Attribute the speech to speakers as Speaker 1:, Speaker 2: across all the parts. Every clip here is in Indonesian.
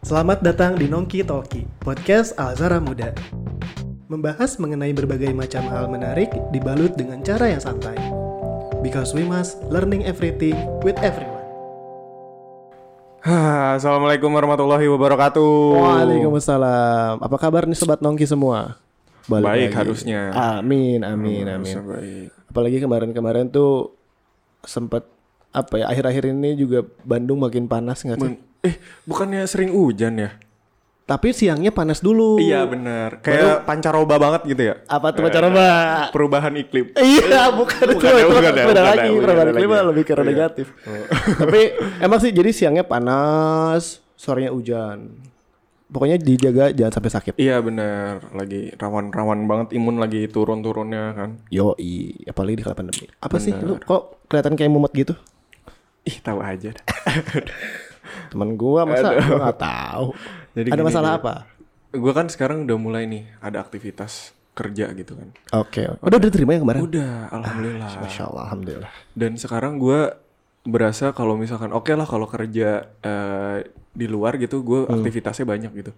Speaker 1: Selamat datang di Nongki Talki, podcast Alzara Muda. Membahas mengenai berbagai macam hal menarik dibalut dengan cara yang santai. Because we must learning everything with everyone.
Speaker 2: Hah, Assalamualaikum warahmatullahi wabarakatuh.
Speaker 1: Waalaikumsalam. Apa kabar nih sobat Nongki semua?
Speaker 2: Baik harusnya.
Speaker 1: Amin,
Speaker 2: Hmm,
Speaker 1: amin, amin.
Speaker 2: harusnya baik.
Speaker 1: Apalagi kemarin-kemarin tuh sempat apa ya akhir-akhir ini juga Bandung makin panas nggak sih?
Speaker 2: Men- eh, bukannya sering hujan ya?
Speaker 1: Tapi siangnya panas dulu.
Speaker 2: Iya benar. Kayak pancaroba banget gitu ya.
Speaker 1: Apa tuh pacaran, Mbak?
Speaker 2: Perubahan iklim.
Speaker 1: Iya, bukan, itu,
Speaker 2: ya,
Speaker 1: itu
Speaker 2: bukan ya, bukan
Speaker 1: beda lagi,
Speaker 2: ya, bukan
Speaker 1: perubahan
Speaker 2: ya,
Speaker 1: iklim
Speaker 2: lagi ya.
Speaker 1: lebih ke arah
Speaker 2: Iya.
Speaker 1: negatif. Tapi emang sih jadi siangnya panas, sorenya hujan. Pokoknya dijaga jangan sampai sakit.
Speaker 2: Iya benar. Lagi rawan-rawan banget imun lagi turun-turunnya kan.
Speaker 1: Yoi, apalagi di kala pandemi. Apa sih lu kok kelihatan kayak mumet gitu?
Speaker 2: Ih, tahu aja dah.
Speaker 1: Temen gua masa gua nggak tahu.
Speaker 2: Jadi
Speaker 1: Ada
Speaker 2: gini,
Speaker 1: masalah
Speaker 2: gini.
Speaker 1: apa?
Speaker 2: Gua kan sekarang udah mulai nih ada aktivitas kerja gitu kan.
Speaker 1: Oke, udah udah terima yang kemarin.
Speaker 2: Udah, alhamdulillah.
Speaker 1: Masya Allah, alhamdulillah.
Speaker 2: Dan sekarang gue berasa kalau misalkan oke lah kalau kerja eh, di luar gitu gue aktivitasnya banyak gitu.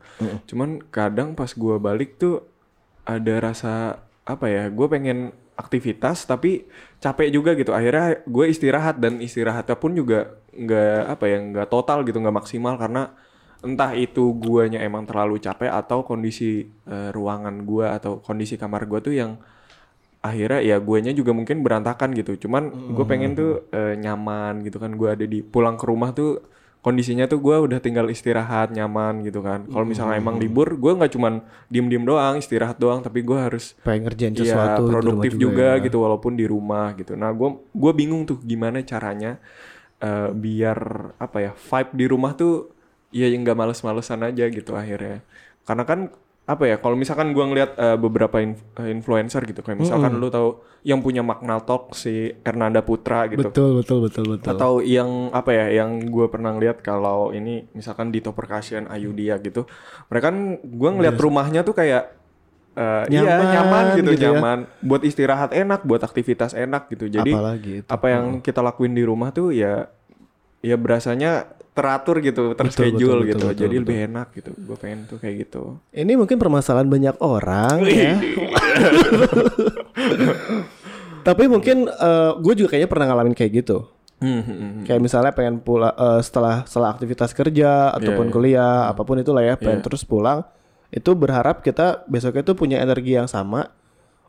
Speaker 2: Cuman kadang pas gue balik tuh ada rasa apa ya? Gue pengen aktivitas tapi capek juga gitu. Akhirnya gue istirahat dan istirahatnya pun juga nggak apa ya nggak total gitu nggak maksimal karena entah itu guanya emang terlalu capek atau kondisi eh, ruangan gua atau kondisi kamar gua tuh yang akhirnya ya guenya juga mungkin berantakan gitu cuman gue pengen tuh eh, nyaman gitu kan gue ada di pulang ke rumah tuh kondisinya tuh gue udah tinggal istirahat nyaman gitu kan kalau misalnya emang libur gue nggak cuman diem diem doang istirahat doang tapi gue harus
Speaker 1: Pengen ngerjain
Speaker 2: Iya
Speaker 1: sesuatu di rumah
Speaker 2: produktif
Speaker 1: ya.
Speaker 2: juga, gitu walaupun di rumah gitu. Nah, gua gua bingung tuh gimana caranya eh, biar apa ya, vibe di rumah tuh ya yang nggak males-malesan aja gitu akhirnya. Karena kan apa ya, kalau misalkan gua ngeliat eh, beberapa inf- eh, influencer gitu kayak misalkan lu tahu yang punya Magna Talk si Hernanda Putra gitu.
Speaker 1: Betul, betul, betul, betul.
Speaker 2: Atau yang apa ya, yang gue pernah lihat kalau ini misalkan Dito Percussion, Ayudhya gitu. Mereka kan gue ngeliat rumahnya tuh kayak eh, iya,
Speaker 1: Iya. Nyaman
Speaker 2: nyaman gitu,
Speaker 1: gitu ya.
Speaker 2: nyaman. Buat istirahat enak, buat aktivitas enak gitu. Jadi
Speaker 1: Apalagi itu. Hmm.
Speaker 2: apa yang kita lakuin di rumah tuh ya ya berasanya teratur gitu, terschedule
Speaker 1: betul, betul,
Speaker 2: gitu.
Speaker 1: betul,
Speaker 2: Jadi lebih enak gitu. Gue pengen tuh kayak gitu.
Speaker 1: Ini mungkin permasalahan banyak orang ya. Tapi mungkin gue juga kayaknya pernah ngalamin kayak gitu.
Speaker 2: Hmm, hmm, hmm.
Speaker 1: Kayak misalnya pengen pulang eh, setelah setelah aktivitas kerja
Speaker 2: Iya,
Speaker 1: ataupun kuliah
Speaker 2: Hmm.
Speaker 1: apapun itulah ya, pengen terus pulang. Itu berharap kita besoknya tuh punya energi yang sama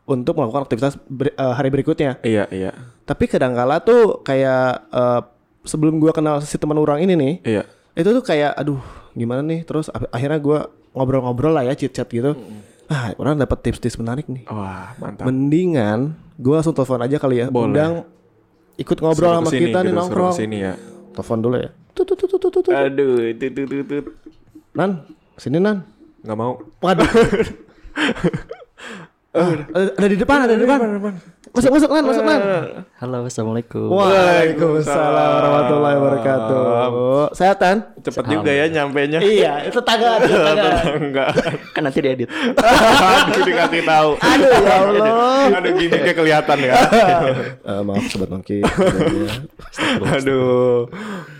Speaker 1: untuk melakukan aktivitas ber- eh, hari berikutnya.
Speaker 2: Iya, iya.
Speaker 1: Tapi kadangkala tuh kayak eh, sebelum gua kenal si teman orang ini nih,
Speaker 2: Iya.
Speaker 1: itu tuh kayak aduh gimana nih terus a- akhirnya gue ngobrol-ngobrol lah ya chit chat gitu ah orang dapat tips-tips menarik nih
Speaker 2: Wah, mantap.
Speaker 1: mendingan gue langsung telepon aja kali ya
Speaker 2: Boleh.
Speaker 1: undang ikut ngobrol
Speaker 2: Suruh
Speaker 1: sama
Speaker 2: kesini
Speaker 1: kita nih
Speaker 2: gitu, suruh
Speaker 1: nongkrong
Speaker 2: kesini ya.
Speaker 1: telepon dulu ya tut tut tut tut tut, tut.
Speaker 2: Aduh, tut, tut, tut, tut.
Speaker 1: nan sini nan
Speaker 2: nggak mau.
Speaker 1: waduh Ah, ada ada di depan, ada di depan. Masuk, masuk, Nan, masuk,
Speaker 2: Eh,
Speaker 1: Nan.
Speaker 3: Halo, assalamualaikum.
Speaker 1: Waalaikumsalam warahmatullahi wabarakatuh. Sehat, Nan?
Speaker 2: Cepet juga ya nyampe nya.
Speaker 1: Iya, itu tangga, itu tangga.
Speaker 2: Enggak.
Speaker 3: Kan nanti diedit.
Speaker 2: Aduh dikasih tahu.
Speaker 1: Aduh, ya Allah.
Speaker 2: Aduh gini kayak kelihatan ya.
Speaker 1: Eh, maaf sobat Nongki.
Speaker 2: Aduh.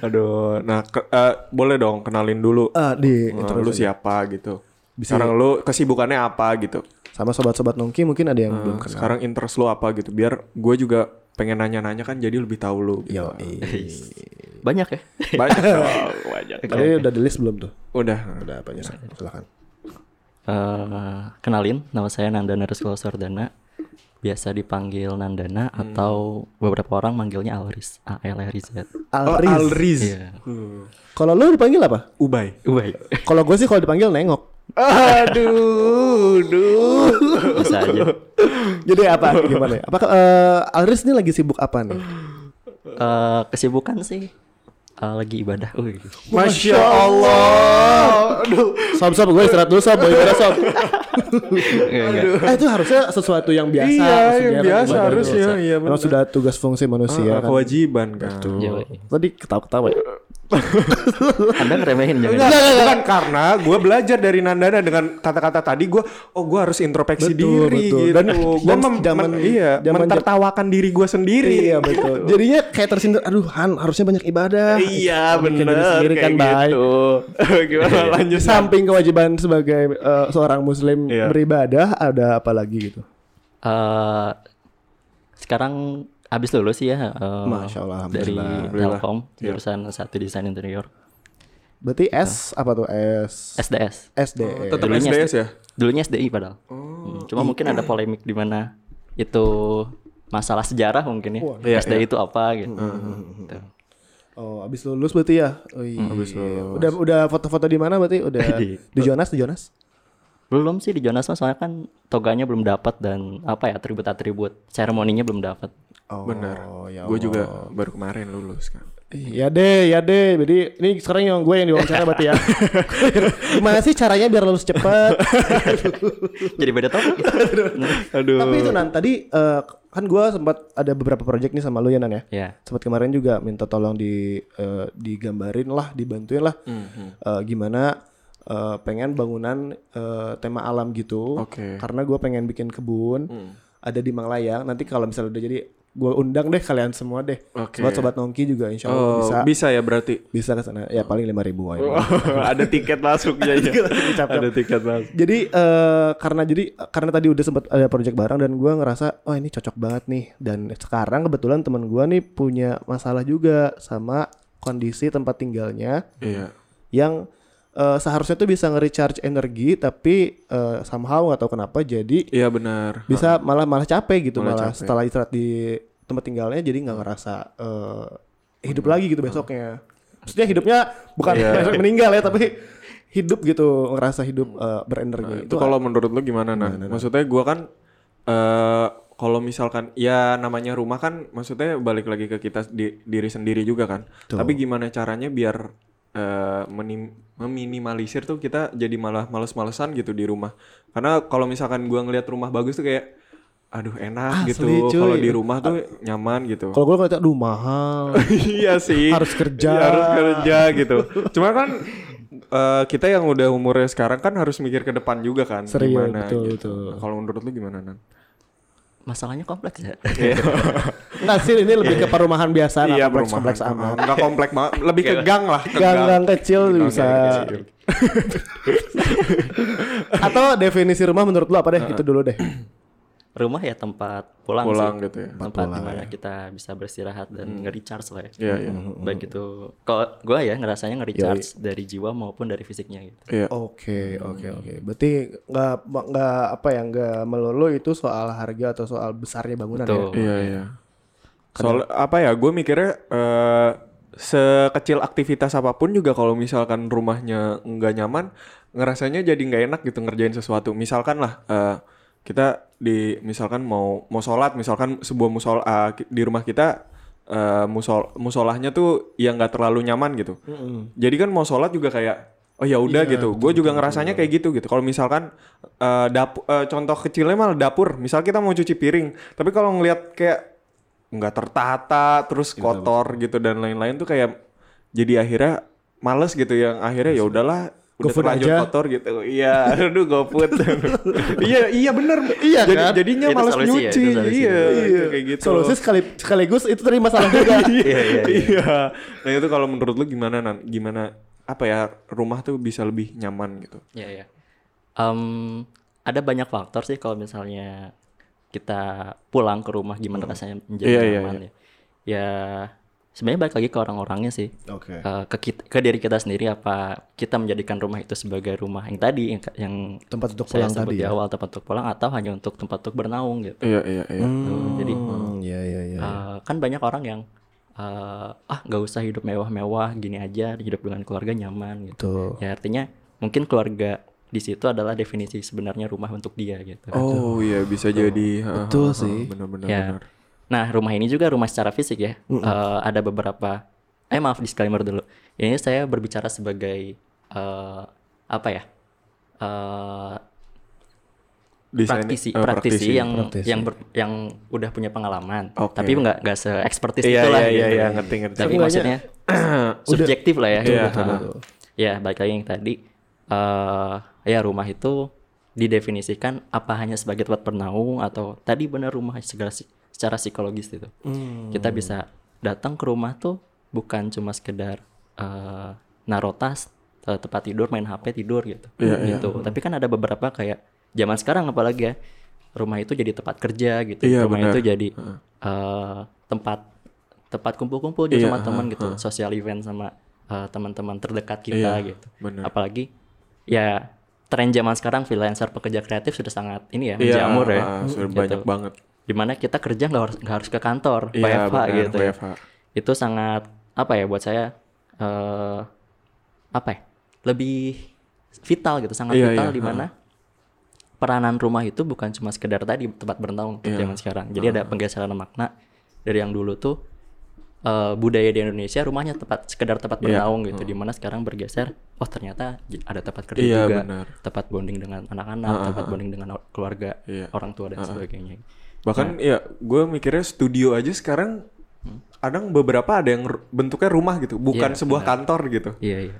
Speaker 2: Aduh. Nah, ke- eh, boleh dong kenalin dulu.
Speaker 1: Ah, di
Speaker 2: Nah, lu siapa gitu.
Speaker 1: ya?
Speaker 2: Sekarang lu kesibukannya apa gitu.
Speaker 1: sama sobat-sobat Nongki mungkin ada
Speaker 2: Ah,
Speaker 1: yang belum kenal.
Speaker 2: Sekarang interest lu apa gitu. Biar gue juga pengen nanya-nanya kan jadi lebih tahu lu. gitu.
Speaker 1: Yo, iya.
Speaker 3: Banyak ya?
Speaker 2: Banyak dong, banyak.
Speaker 1: Tadi udah di list belum tuh?
Speaker 2: Udah.
Speaker 1: Udah apa ya?
Speaker 2: Iya.
Speaker 1: Silakan.
Speaker 3: Eh, kenalin, nama saya Nandana Rizkul Sordana. Biasa dipanggil Nandana
Speaker 1: Hmm.
Speaker 3: atau beberapa orang manggilnya Alris, A L R I Z.
Speaker 2: Oh,
Speaker 1: Alriz.
Speaker 2: Alriz.
Speaker 3: Iya.
Speaker 2: Hmm.
Speaker 1: Kalau lu dipanggil apa?
Speaker 2: Ubay.
Speaker 3: Uwe.
Speaker 1: Kalau gue sih kalau dipanggil nengok.
Speaker 2: Aduh, aduh.
Speaker 3: Bisa aja.
Speaker 1: Jadi apa? Gimana? ya? Apakah eh, Alriz ini lagi sibuk apa nih?
Speaker 3: Eh, kesibukan sih eh, lagi ibadah. Uy.
Speaker 2: Masya Allah. Aduh.
Speaker 1: Sob sob gue istirahat dulu sob, boleh beres sob.
Speaker 3: Enggak, enggak.
Speaker 1: Eh itu harusnya sesuatu yang biasa.
Speaker 2: Iya,
Speaker 1: maksudnya
Speaker 2: yang
Speaker 1: kan,
Speaker 2: biasa
Speaker 1: ibadah
Speaker 2: harusnya,
Speaker 1: dosa.
Speaker 2: iya,
Speaker 1: Karena
Speaker 2: benar.
Speaker 1: sudah tugas fungsi
Speaker 2: Ah,
Speaker 1: manusia Iya kan.
Speaker 2: kewajiban kan.
Speaker 3: Yoi.
Speaker 1: Tadi ketawa-ketawa ya.
Speaker 3: Anda ngeremehin jangan.
Speaker 2: Enggak, bukan karena gue belajar dari Nandana dengan kata-kata tadi gue oh gue harus introspeksi
Speaker 1: Betul,
Speaker 2: diri
Speaker 1: betul.
Speaker 2: gitu.
Speaker 1: Dan-
Speaker 2: gue
Speaker 1: dan
Speaker 2: mem,
Speaker 1: zaman-
Speaker 2: men- iya,
Speaker 1: zaman-
Speaker 2: mentertawakan diri gue sendiri.
Speaker 1: Iya betul. Jadinya kayak tersindir, aduh Han harusnya banyak ibadah.
Speaker 2: Iya
Speaker 1: Tapi
Speaker 2: bener
Speaker 1: kan diri sendiri kan baik.
Speaker 2: gitu. Gimana
Speaker 1: Iya, Di
Speaker 2: lanjut
Speaker 1: samping kewajiban sebagai eh, seorang muslim
Speaker 2: Iya.
Speaker 1: beribadah ada apa lagi gitu.
Speaker 3: Eh, sekarang abis lulus sih ya. eh,
Speaker 1: Masya Allah,
Speaker 3: Dari
Speaker 1: alhamdulillah.
Speaker 3: Telkom
Speaker 2: Iya.
Speaker 3: jurusan satu desain interior
Speaker 1: Berarti S apa tuh S?
Speaker 3: SDS.
Speaker 1: SD.
Speaker 2: Tetap
Speaker 3: Dulunya
Speaker 2: SDS ya? Oh,
Speaker 3: Dulunya SDI padahal. Hmm, Cuma mungkin ada polemik di mana itu masalah sejarah mungkin ya.
Speaker 2: Iya, hmm,
Speaker 3: SDI itu apa gitu. Gitu.
Speaker 1: Oh, abis lulus berarti ya? Wih.
Speaker 2: Mm, abis lulus.
Speaker 1: Udah udah foto-foto di mana berarti? Udah
Speaker 3: Di-
Speaker 1: di Jonas, di Jonas.
Speaker 3: Belum sih di Jonas Mas, soalnya kan toganya belum dapat dan apa ya atribut-atribut ceremoninya belum dapat.
Speaker 1: Oh,
Speaker 2: Bener.
Speaker 1: Ya
Speaker 2: gue juga baru kemarin lulus kan.
Speaker 1: Iya deh, ya deh. Jadi ini sekarang yang gue yang diwawancara berarti ya. Gimana sih caranya biar lulus cepet?
Speaker 3: Jadi beda topik. nah-
Speaker 2: Aduh.
Speaker 1: Tapi itu Nan, tadi eh, kan gue sempat ada beberapa project nih sama lu ya Nan ya.
Speaker 3: ya.
Speaker 1: Sempat kemarin juga minta tolong di eh, digambarin lah, dibantuin lah
Speaker 2: Mhm.
Speaker 1: eh, gimana eh, pengen bangunan eh, tema alam gitu.
Speaker 2: Oke. Hmm.
Speaker 1: Karena gue pengen bikin kebun ada di Manglayang. Nanti kalau misalnya udah jadi gue undang deh kalian semua deh.
Speaker 2: Oke.
Speaker 1: Sobat-sobat Nongki juga insya Allah
Speaker 2: Oh,
Speaker 1: bisa
Speaker 2: bisa. ya berarti.
Speaker 1: bisa ke sana. Ya paling lima ribu
Speaker 2: ada tiket masuknya ya.
Speaker 1: dicap-cap.
Speaker 2: ada tiket masuk.
Speaker 1: Jadi eh, karena jadi karena tadi udah sempat ada project bareng dan gua ngerasa oh ini cocok banget nih dan sekarang kebetulan teman gua nih punya masalah juga sama kondisi tempat tinggalnya
Speaker 2: Iya.
Speaker 1: yang eh, seharusnya tuh bisa nge-recharge energi tapi eh, somehow nggak tahu kenapa jadi
Speaker 2: Iya benar.
Speaker 1: bisa malah malah capek gitu
Speaker 2: Malah
Speaker 1: malah
Speaker 2: capek.
Speaker 1: setelah istirahat di tempat tinggalnya jadi nggak ngerasa eh, hidup lagi gitu besoknya maksudnya hidupnya bukan
Speaker 2: Hmm. Iya.
Speaker 1: besok meninggal ya tapi hidup gitu ngerasa hidup eh, berenergi
Speaker 2: Nah, itu kalau menurut lu gimana nah? Maksudnya gua kan eh kalau misalkan ya namanya rumah kan maksudnya balik lagi ke kita di- diri sendiri juga kan. Tapi gimana caranya biar eh, menim- meminimalisir tuh kita jadi malah males-malesan gitu di rumah. Karena kalau misalkan gua ngelihat rumah bagus tuh kayak aduh enak gitu.
Speaker 1: Asli, cuy.
Speaker 2: Kalau di rumah tuh nyaman gitu.
Speaker 1: Kalau gue ngeliatnya, aduh mahal.
Speaker 2: iya sih
Speaker 1: Harus kerja.
Speaker 2: Iya, harus kerja gitu cuma kan eh, kita yang udah umurnya sekarang kan harus mikir ke depan juga kan
Speaker 1: Serius,
Speaker 2: gimana
Speaker 1: betul,
Speaker 2: gitu.
Speaker 1: betul.
Speaker 2: Nah, kalau menurut lu gimana nan Iya,
Speaker 3: Masalahnya kompleks ya.
Speaker 1: Enggak sih, ini lebih ke perumahan biasa. nggak kompleks,
Speaker 2: perumahan,
Speaker 1: kompleks
Speaker 2: perumahan.
Speaker 1: aman.
Speaker 2: iya, nggak komplek banget lebih ke gang lah ke
Speaker 1: Gang-gang kecil bisa. Atau definisi rumah menurut lo apa deh? Itu dulu deh.
Speaker 3: Rumah ya tempat pulang,
Speaker 2: pulang
Speaker 3: sih.
Speaker 2: gitu ya Hmm.
Speaker 3: Tempat di mana kita bisa beristirahat dan nge-recharge lah ya.
Speaker 2: Iya, iya.
Speaker 3: Baik itu kalau gua ya ngerasanya nge-recharge dari jiwa maupun dari fisiknya gitu.
Speaker 2: iya
Speaker 1: Oke, oke, oke. Berarti nggak nggak apa ya nggak melulu itu soal harga atau soal besarnya bangunan ya.
Speaker 3: Betul.
Speaker 2: iya iya soal apa ya gue mikirnya eh, sekecil aktivitas apapun juga kalau misalkan rumahnya nggak nyaman ngerasanya jadi nggak enak gitu ngerjain sesuatu misalkan lah eh, kita di misalkan mau mau sholat misalkan sebuah musol ah, ki- di rumah kita eh, musol musolahnya tuh yang nggak terlalu nyaman gitu jadi kan mau sholat juga kayak oh ya udah gitu gue juga ngerasanya kayak gitu gitu kalau misalkan eh, dapu- eh, contoh kecilnya malah dapur misal kita mau cuci piring tapi kalau ngelihat kayak nggak tertata terus kotor gitu dan lain-lain tuh kayak jadi akhirnya males gitu yang akhirnya ya udahlah udah
Speaker 1: GoFood
Speaker 2: terlanjur
Speaker 1: aja.
Speaker 2: kotor gitu iya aduh gofood iya iya bener iya jadi,
Speaker 1: kan?
Speaker 2: jadinya
Speaker 3: Itu
Speaker 2: males
Speaker 3: solusi ya, itu
Speaker 2: nyuci
Speaker 3: solusi.
Speaker 2: iya,
Speaker 1: Iya.
Speaker 2: itu kayak gitu
Speaker 1: Solusi sekali, sekaligus itu tadi masalah juga.
Speaker 2: iya iya nah itu kalau menurut lu gimana nan gimana apa ya rumah tuh bisa lebih nyaman gitu
Speaker 3: Iya iya. Em, ada banyak faktor sih kalau misalnya kita pulang ke rumah gimana rasanya menjadi
Speaker 2: Iya, iya,
Speaker 3: nyaman ya. Ya sebenarnya balik lagi ke orang-orangnya sih.
Speaker 1: Oke.
Speaker 3: Eh, ke kit- ke diri kita sendiri apa kita menjadikan rumah itu sebagai rumah yang tadi yang, yang
Speaker 1: Tempat untuk
Speaker 3: saya
Speaker 1: pulang
Speaker 3: sebut
Speaker 1: tadi
Speaker 3: di
Speaker 1: ya.
Speaker 3: awal tempat untuk pulang atau hanya untuk tempat untuk bernaung gitu.
Speaker 2: iya iya iya
Speaker 3: Jadi
Speaker 1: Hmm, iya iya iya.
Speaker 3: Eh, kan banyak orang yang eh, ah nggak usah hidup mewah-mewah gini aja hidup dengan keluarga nyaman gitu. Ya artinya mungkin keluarga di situ adalah definisi sebenarnya rumah untuk dia gitu.
Speaker 2: oh iya bisa jadi
Speaker 1: Betul sih.
Speaker 2: bener-bener
Speaker 3: ya. Nah rumah ini juga rumah secara fisik ya. Eh, ada beberapa. Eh maaf disclaimer dulu. Ini saya berbicara sebagai eh, apa ya? Eh,
Speaker 2: Desain-
Speaker 3: praktisi,
Speaker 2: eh,
Speaker 3: praktisi yang
Speaker 1: praktisi.
Speaker 3: yang ber- yang udah punya pengalaman,
Speaker 2: Oke.
Speaker 3: tapi nggak nggak se-expertise
Speaker 2: Iya,
Speaker 3: itulah
Speaker 2: iya,
Speaker 3: gitu.
Speaker 2: iya, iya, ngerti, ngerti.
Speaker 3: Tapi
Speaker 1: Seenggaknya-
Speaker 3: maksudnya subjektif lah ya.
Speaker 2: Betul,
Speaker 3: Iya,
Speaker 2: betul,
Speaker 3: ha. Ya, balik lagi yang tadi. eh ya rumah itu didefinisikan apa hanya sebagai tempat bernaung atau tadi benar rumah segala si- secara psikologis itu.
Speaker 2: Hmm.
Speaker 3: Kita bisa datang ke rumah tuh bukan cuma sekedar eh naruh tas, eh, tempat tidur, main HP, tidur gitu.
Speaker 2: Iya,
Speaker 3: gitu. Tapi kan ada beberapa kayak zaman sekarang apalagi ya rumah itu jadi tempat kerja gitu.
Speaker 2: Iya,
Speaker 3: rumah
Speaker 2: benar.
Speaker 3: itu jadi eh, tempat tempat kumpul-kumpul
Speaker 2: Iya,
Speaker 3: juga sama teman gitu, social event sama eh, teman-teman terdekat kita
Speaker 2: Iya,
Speaker 3: gitu.
Speaker 2: benar.
Speaker 3: Apalagi ya tren zaman sekarang freelancer pekerja kreatif sudah sangat ini ya
Speaker 2: Iya,
Speaker 3: menjamur ya.
Speaker 2: ah, sudah
Speaker 3: Gitu.
Speaker 2: banyak banget.
Speaker 3: Dimana kita kerja nggak harus nggak harus ke kantor, WFH
Speaker 2: Iya, benar,
Speaker 3: gitu. ya.
Speaker 2: WFH.
Speaker 3: Itu sangat apa ya buat saya eh apa ya? Lebih vital gitu, sangat
Speaker 2: Iya,
Speaker 3: vital
Speaker 2: iya,
Speaker 3: di mana peranan rumah itu bukan cuma sekedar tadi tempat bernaung untuk
Speaker 2: Iya.
Speaker 3: zaman sekarang. Jadi ada penggeseran makna dari yang dulu tuh eh, budaya di Indonesia rumahnya tempat sekedar tempat
Speaker 2: Iya.
Speaker 3: bernaung gitu, dimana sekarang bergeser. Oh ternyata j- ada tempat kerja
Speaker 2: Iya,
Speaker 3: juga,
Speaker 2: benar.
Speaker 3: tempat bonding dengan anak-anak, tempat bonding dengan o- keluarga,
Speaker 2: Iya.
Speaker 3: orang tua dan sebagainya.
Speaker 2: Bahkan
Speaker 3: Nah.
Speaker 2: ya gue mikirnya studio aja sekarang kadang beberapa ada yang ru- bentuknya rumah gitu, bukan sebuah kantor gitu.
Speaker 3: Iya iya.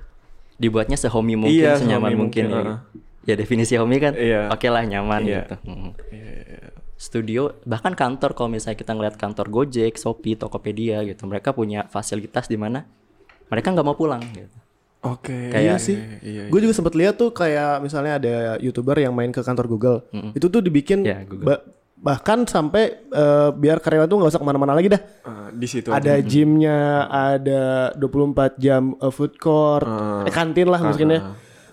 Speaker 3: Dibuatnya sehomi mungkin,
Speaker 2: Iya,
Speaker 3: senyaman
Speaker 2: sehomi
Speaker 3: mungkin.
Speaker 2: mungkin,
Speaker 3: ya. Ya, definisi homi kan,
Speaker 2: Iya.
Speaker 3: oke lah nyaman gitu. Mm. Studio bahkan kantor kalau misalnya kita ngeliat kantor Gojek, Shopee, Tokopedia gitu, mereka punya fasilitas di mana mereka nggak mau pulang. Gitu.
Speaker 2: Oke.
Speaker 4: Iya sih. Gue juga sempat lihat tuh kayak misalnya ada youtuber yang main ke kantor Google. Itu tuh dibikin
Speaker 3: Ya, Google.
Speaker 4: ba- bahkan sampai eh, biar karyawan tuh nggak usah kemana-mana lagi dah.
Speaker 2: Ah, di situ aja.
Speaker 4: Ada gymnya, ada 24 jam eh, food court, eh, kantin lah mungkin ya.